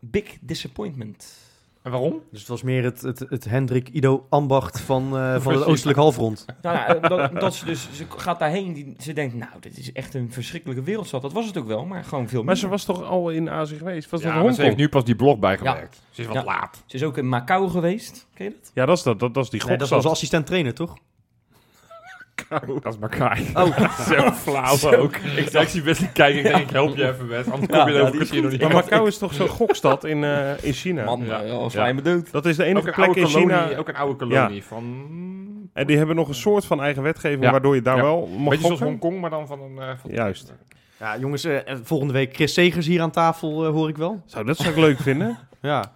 C: big disappointment.
D: En waarom?
B: Dus het was meer het, het, het Hendrik Ido ambacht van, eh, van het
D: Precies.
B: oostelijk halfrond.
C: Nou, ja, eh, dat, dat ze dus, ze gaat daarheen, die, ze denkt, nou, dit is echt een verschrikkelijke wereldstad. Dat was het ook wel, maar gewoon veel
A: maar
C: meer.
A: ze was toch al in Azië geweest? Was
D: Ja,
A: dat
D: maar ze heeft
A: Hongkong?
D: nu pas die blog bijgewerkt. Ze is wat
C: Ja.
D: laat.
C: Ze is ook in Macau geweest, ken je dat?
A: Ja, dat is, dat, dat, dat is die
B: Nee, dat is
A: gokstad.
B: onze assistent trainer, toch?
D: Dat is maar kaai.
B: Oh,
D: Zo flauw ook. Ik, ik zie best niet kijken. Ik denk, ik help je even, Wes. Anders
C: Ja,
D: kom je er
C: ja, die
D: over
C: is
D: misschien nog
A: maar
D: niet.
A: Macau is toch zo'n gokstad in, eh, in China?
C: Man,
D: Ja.
C: eh, als
D: Ja.
C: wij me dood.
A: Dat is de enige
D: Ook een
A: plek
D: oude
A: in China.
D: kolonie. eh. Ook een oude kolonie van...
A: En die hebben nog een soort van eigen wetgeving,
D: Ja.
A: waardoor je daar
D: Ja.
A: wel mag
D: Beetje zoals
A: gokken.
D: Hongkong, maar dan van een... eh, van-
A: Juist.
B: ja, jongens, eh, eh, volgende week Chris Segers hier aan tafel, eh, hoor ik wel.
A: Zou dat zou ik leuk vinden?
B: Ja,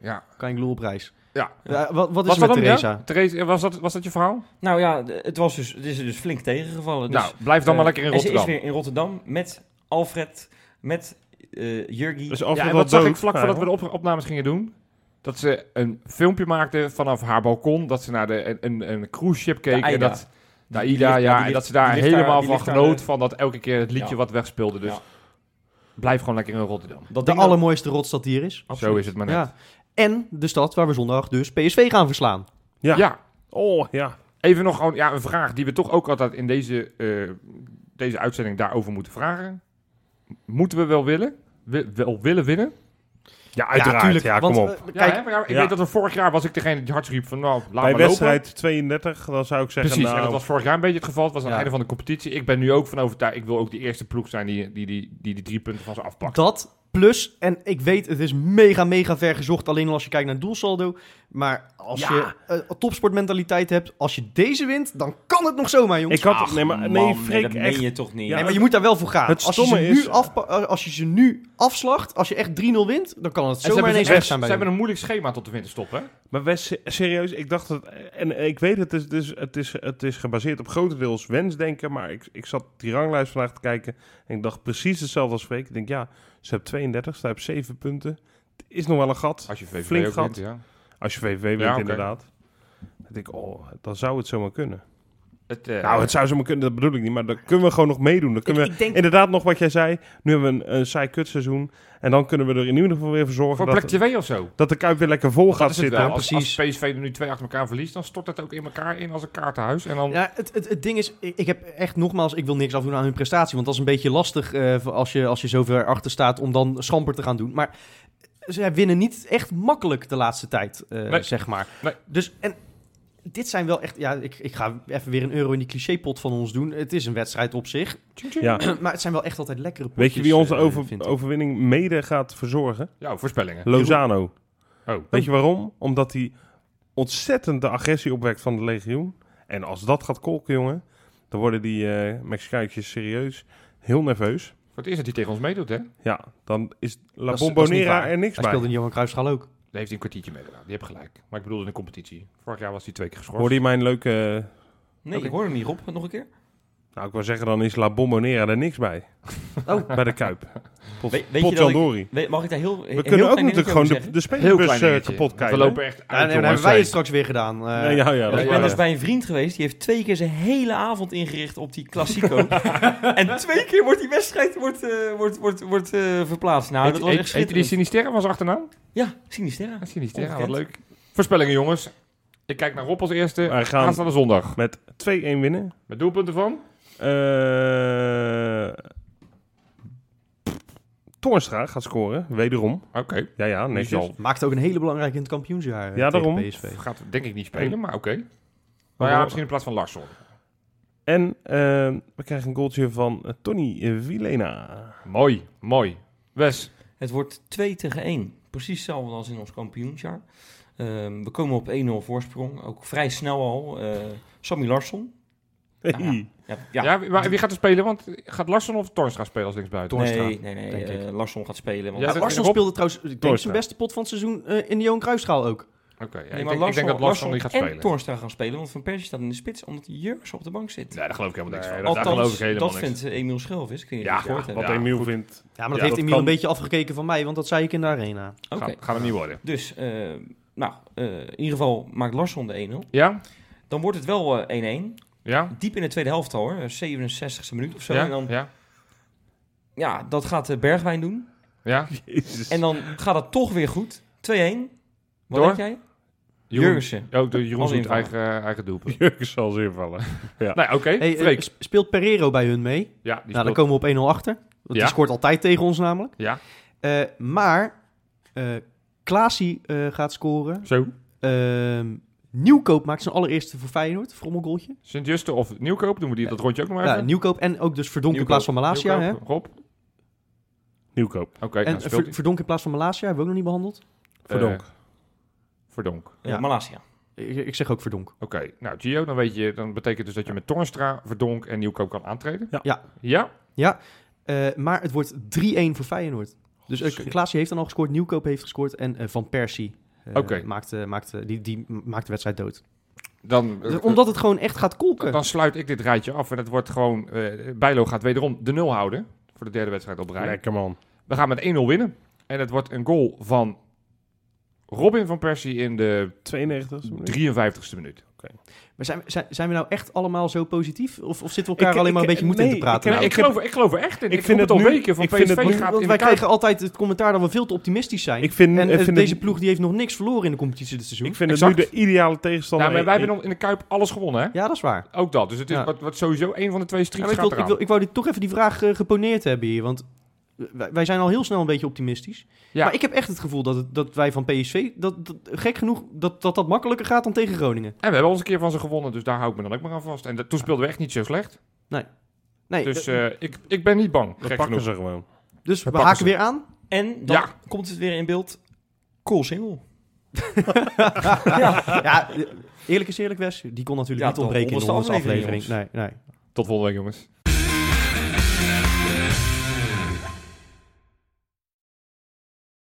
D: Ja.
B: kan ik op reis.
D: Ja.
B: Eh, wat, wat is
D: Was
B: er met
D: dat hem,
B: Theresa?
D: ja? Theresa, was dat, was dat je verhaal?
C: Nou ja, d- het, was dus, het is er dus flink tegengevallen. Dus,
D: nou, blijf dan
C: eh,
D: maar lekker in
C: en
D: Rotterdam.
C: Ze is weer in Rotterdam met Alfred, met eh Jurgi.
A: Dus
D: Ja,
A: Alfred
D: en
A: had
D: wat zag
A: dood,
D: ik vlak voordat we de
A: eigenlijk.
D: op opnames gingen doen? Dat ze een filmpje maakte vanaf haar balkon. Dat ze naar de, een, een, een cruise ship keek.
C: Aida.
D: En dat, de
C: die
D: Aida,
C: ligt- nou,
D: ja.
C: die
D: en
C: ligt-
D: dat ze daar
C: die ligt
D: helemaal
C: daar- die
D: van
C: ligt daar,
D: genoot
C: eh,
D: van dat elke keer het liedje
C: Ja.
D: wat wegspeelde. Dus
C: Ja.
D: blijf gewoon lekker in Rotterdam.
C: dat
B: De
C: ding dat-
B: allermooiste rotstad die er is.
D: Zo
C: Absoluut.
D: is het maar net. Ja.
B: Ja. En de stad waar we zondag dus PSV gaan verslaan.
A: Ja. Oh, ja.
D: Even nog gewoon, ja, een vraag die we toch ook altijd in deze, eh, deze uitzending daarover moeten vragen. Moeten we wel willen? Wi- wel willen winnen?
A: Ja, uiteraard. Ja,
B: tuurlijk,
A: kom
B: want,
A: op.
B: eh,
D: Ja,
B: kijk,
D: hè, maar ja, ik
A: ja.
D: weet dat er vorig jaar was ik degene die hard riep van nou, laat
A: Bij
D: maar lopen.
A: wedstrijd 32, dan zou ik zeggen...
D: Precies, en
A: nou,
D: dat was vorig jaar een beetje het geval. Het was aan
B: Ja.
D: het einde van de competitie. Ik ben nu ook van overtuigd. Ik wil ook de eerste ploeg zijn die die, die, die, die drie punten van ze afpakt.
B: dat plus, en ik weet het is mega, mega ver gezocht. Alleen al als je kijkt naar het doelsaldo. Maar als
D: Ja.
B: je eh, topsportmentaliteit hebt, als je deze wint, dan kan het nog zomaar, jongens.
A: ik had...
C: Ach,
A: nee, maar,
C: man,
A: nee,
C: nee,
A: Freek,
C: dat meen
A: echt.
C: je toch niet.
A: Ja,
B: Nee, maar je moet daar wel voor gaan.
A: Het
B: als, je ze
A: stomme
B: nu
A: is-
B: afpa- eh, als je ze nu afslacht, als je echt 3-0 wint, dan kan het
D: En ze
B: zomaar
D: hebben,
B: ineens
D: echt-
B: weg
D: ze
B: zijn bij
D: hebben
B: jullie.
D: een moeilijk schema tot de winterstop, hè?
A: Maar Wes, se- serieus, ik dacht dat... En ik weet het, het is, het is, het is, het is gebaseerd op grotendeels wensdenken. Maar ik, ik zat die ranglijst vandaag te kijken. En ik dacht precies hetzelfde als Freek. Ik denk, ja, Ze hebt 32, ze hebt 7 punten. Het is nog wel een gat.
D: Als je VVV
A: Flink
D: ook
A: gat.
D: wint, ja.
A: Als je VVV wint,
D: oké.
A: inderdaad. Dan denk ik, oh, dan zou het zomaar kunnen.
D: Het, eh,
A: Nou, het zou zomaar kunnen, dat bedoel ik niet. Maar dan kunnen we gewoon nog meedoen. Dan kunnen
C: Ik-
A: we
C: ik denk-
A: inderdaad nog wat jij zei. Nu hebben we een, een saai kutseizoen. En dan kunnen we er in ieder geval weer voor zorgen
D: voor
A: dat,
D: plek 2 of zo.
A: dat de Kuip weer lekker vol
D: Dat
A: gaat
D: is het
A: zitten.
D: wel. Als,
B: precies.
D: als PSV er nu twee achter elkaar verliest, dan stort het ook in elkaar in als een kaartenhuis. En dan,
B: Ja, het, het, het ding is, ik, ik heb echt nogmaals, ik wil niks afdoen aan hun prestatie. Want dat is een beetje lastig eh, voor als, je, als je zo ver achter staat om dan schamper te gaan doen. Maar zij winnen niet echt makkelijk de laatste tijd, eh,
D: Nee.
B: zeg maar.
D: Nee.
B: Dus, en dit zijn wel echt, ja, ik, ik ga even weer een euro in die clicépot van ons doen. Het is een wedstrijd op zich,
A: Ja.
B: maar het zijn wel echt altijd lekkere
A: Weet je wie
B: potjes,
A: onze
B: eh,
A: over-
B: vind ik.
A: overwinning mede gaat verzorgen?
D: ja, voorspellingen.
A: Lozano.
D: Oh.
A: Weet je waarom? Omdat hij ontzettend de agressie opwekt van de legioen. En als dat gaat kolken, jongen, dan worden die eh Mexicaantjes serieus heel nerveus.
D: Voor het eerst dat hij tegen ons meedoet, hè? Daar
A: Ja, dan is
B: Dat is-
A: La
B: dat is niet
A: Bombonera
B: waar.
A: er niks
B: Hij
A: bij.
B: speelde in de Johan Cruijffschaal ook.
D: heeft hij een kwartiertje meegedaan. Die heb gelijk. Maar ik bedoelde in de competitie. Vorig jaar was hij twee keer geschorst.
A: Hoorde je mijn leuke...
C: Nee, ik hoor hem niet, Rob. Nog een keer.
A: Nou, ik wil zeggen, dan is La Bombonera er niks bij.
B: Oh.
A: Bij de Kuip. Pot,
C: Weet- weet je dat ik-
A: Potjandori.
C: We- Mag ik daar heel
A: We kunnen ook natuurlijk gewoon de,
C: zeggen?
A: de
D: Heel klein
A: spelerbus eh,
D: dingetje.
A: kapot
D: Want We
A: kijken.
D: lopen echt
B: Ja,
D: uit,
B: nee, dan
D: jongens.
B: hebben wij het straks weer gedaan. eh.
A: Nee, ja, ja,
D: Ja,
A: dat
C: ik
A: is
C: ben
A: waar,
C: dus
A: ja.
C: bij een vriend geweest, die heeft twee keer zijn hele avond ingericht op die Classico. en twee keer wordt die wedstrijd wordt, eh, wordt, wordt, wordt, eh, verplaatst. Nou,
D: Heet-
C: dat was
D: heet-
C: echt
D: heet die
C: schitterend.
D: Sinisterra was achternaam?
C: Ja, Sinisterra.
D: Ja, Sinisterra, wat
C: Ongekend.
D: leuk. Voorspellingen, jongens. Ik kijk naar Rob als eerste.
A: Wij gaan-
D: Aanstaande zondag.
A: Met 2-1 winnen.
D: Met doelpunten van?
A: Eh Toornstra gaat scoren, wederom.
D: Oké.
A: Ja, ja, netjes.
D: zal-
B: Maakte ook een hele belangrijke in het kampioensjaar eh, tegen
A: Ja, daarom.
B: PSV.
D: Gaat denk ik niet spelen, maar oké. Maar ja,
A: Waarom?
D: misschien in plaats van Larsson.
A: En eh, we krijgen een goaltje van eh, Tony eh, Vilena.
D: Mooi, mooi. Wes,
C: Het wordt 2 tegen 1. Precies hetzelfde als in ons kampioensjaar. Ehm, we komen op 1-0 voorsprong. Ook vrij snel al. eh, Sammy Larsson. Nou
A: Hey.
C: Ja, ja.
D: ja. wie- maar wie gaat er spelen? Want gaat Larsson of Torstra spelen als linksbuiten?
B: Toornstra,
C: nee, nee, nee.
B: denk ik.
C: eh, Larsson gaat spelen. Want
D: Ja,
B: Ja,
D: dat-
B: Arsenal
D: Rob-
B: speelde trouwens, ik denk,
A: Toornstra.
B: zijn beste pot van het seizoen eh, in de Johan Cruijffschaal ook.
D: Oké, ja,
C: Nee,
D: ik,
C: maar
D: denk, ik denk dat Larsson niet gaat
C: en
D: spelen.
C: Toornstra gaan spelen. Want Van Persie staat in de spits omdat Jurgen op de bank zit.
D: Nee, daar geloof ik helemaal niks
A: Nee,
D: van.
A: dat-
D: daar
C: Althans,
D: geloof ik helemaal
C: dat
D: niks
C: vindt eh, Emiel Schelvis. Ik weet niet
D: Ja,
C: of je het gehoord
D: ja,
A: Wat
C: hebt.
D: Ja,
A: Emiel vindt.
B: Ja, maar dat
A: Ja,
B: heeft
A: dat
B: Emiel
A: kan.
B: een beetje afgekeken van mij, want dat zei ik in de arena.
C: Oké.
D: Gaat, gaat hem niet worden.
C: Dus, eh, nou, eh, in ieder geval maakt Larsson de 1-0.
D: Ja?
C: Dan wordt het wel eh, 1-1.
D: Ja?
C: Diep in de tweede helft al hoor. eh, 67e minuut of zo.
D: ja?
C: En dan,
D: ja?
C: ja, dat gaat eh, Bergwijn doen.
D: Ja?
A: Jezus.
C: En dan gaat het toch weer goed. 2-1. Wat
D: Door?
C: denk jij? Jurgensen.
D: Ook de Jeroen
C: Als
D: Zoet
C: invaller.
D: eigen, eh, eigen doelpunt.
A: Jurgen zal ze invallen.
D: Nee, oké.
B: Hey, eh,
D: Freek.
B: sp- speelt Pereiro bij hun mee?
D: Ja, die
B: nou, dan
D: speelt-
B: komen we op 1-0 achter. Want
D: Ja.
B: die scoort altijd tegen ons namelijk.
D: Ja.
B: Eh, maar eh Klaasie eh, gaat scoren.
D: Zo.
B: Ehm, Nieuwkoop maakt zijn allereerste voor Feyenoord, frommelgoaltje.
D: Sint-Juste of Nieuwkoop, doen we die, dat rondje ook nog maar even.
B: Ja, Nieuwkoop en ook dus Verdonk in
D: Nieuwkoop.
B: plaats van Malasia. Hè?
D: Nieuwkoop, Rob.
A: Nieuwkoop.
D: Oké,
B: En
D: dan
B: eh,
D: speelt
B: Ver- Verdonk in plaats van Malasia hebben we ook nog niet behandeld.
A: Verdonk.
D: Eh, Verdonk.
C: Ja.
B: Ja.
C: eh, Malasia.
B: Ik, ik zeg ook Verdonk.
D: Oké, nou Gio, dan weet je, dan betekent dus dat je met Tornstra, Verdonk en Nieuwkoop kan aantreden.
A: Ja.
B: Ja.
D: Ja?
B: Eh, maar het wordt 3-1 voor Feyenoord.
A: Oh,
B: Dus uh, Klaasie heeft dan al gescoord, Nieuwkoop heeft gescoord en eh, Van Persie eh,
D: Oké.
B: maakt, eh, maakt, eh, die, die maakt de wedstrijd dood.
D: Dan,
B: Dus omdat het gewoon echt gaat kolken.
D: dan sluit ik dit rijtje af en het wordt gewoon, eh, Bijlo gaat wederom de nul houden voor de derde wedstrijd op rij.
A: Lekker man.
D: We gaan met 1-0 winnen en het wordt een goal van Robin van Persie in de
A: 92.
D: 53ste minuut.
B: Maar zijn, we- zijn, zijn we nou echt allemaal zo positief? Of, of zitten we elkaar alleen maar een beetje moed in te
A: nee,
B: praten?
A: ik-
D: Nou,
B: nou?
D: ik, geloof, er- ik geloof er echt in. Ik, vind
A: ik vind
D: het
A: het
D: al
A: nu-
D: weken van
A: ik vind
D: PSV
A: het nu-
D: gaat
B: Want
D: in de
B: wij
D: kuip.
B: krijgen altijd het commentaar dat we veel te optimistisch zijn.
A: Ik vind,
B: en
A: ik
B: eh,
A: vind
B: deze
A: het,
B: ploeg die heeft nog niks verloren in de competitie dit seizoen.
A: ik vind het nu
D: Exact.
A: de ideale tegenstander.
D: Nou, maar wij
A: Ik-
D: hebben in de Kuip alles gewonnen, hè?
B: Ja, dat is waar.
D: Ook dat. Dus het is
B: Ja.
D: wat, wat sowieso een van de twee
B: Ja,
D: streaks
B: maar ik,
D: gaat
B: wil, ik,
D: eraan.
B: wil, ik wou dit toch even die vraag eh, geponeerd hebben hier. Want eh, wij, wij zijn al heel snel een beetje optimistisch.
D: Ja.
B: Maar ik heb echt het gevoel dat, het- dat wij van PSV, dat, dat, gek genoeg, dat, dat dat makkelijker gaat dan tegen Groningen.
D: En we hebben ons een keer van ze gewonnen, dus daar hou ik me dan ook maar aan vast. En dat- toen speelden we echt niet zo slecht.
B: Nee,
D: Dus
B: dus,
D: eh, ik, ik ben niet bang.
A: Dat
D: gek
A: pakken
D: genoeg.
A: ze gewoon.
B: dus we
D: pakken
B: haken
D: ze.
B: weer aan.
C: En dan
D: Ja.
C: komt het weer in beeld. Cool single.
B: ja, eh, eerlijk is eerlijk, Wes. Die kon natuurlijk
C: Ja,
B: niet ontbreken in de 100ste
C: honderdste
B: aflevering.
C: aflevering,
B: Nee, nee.
D: Tot volgende week, jongens.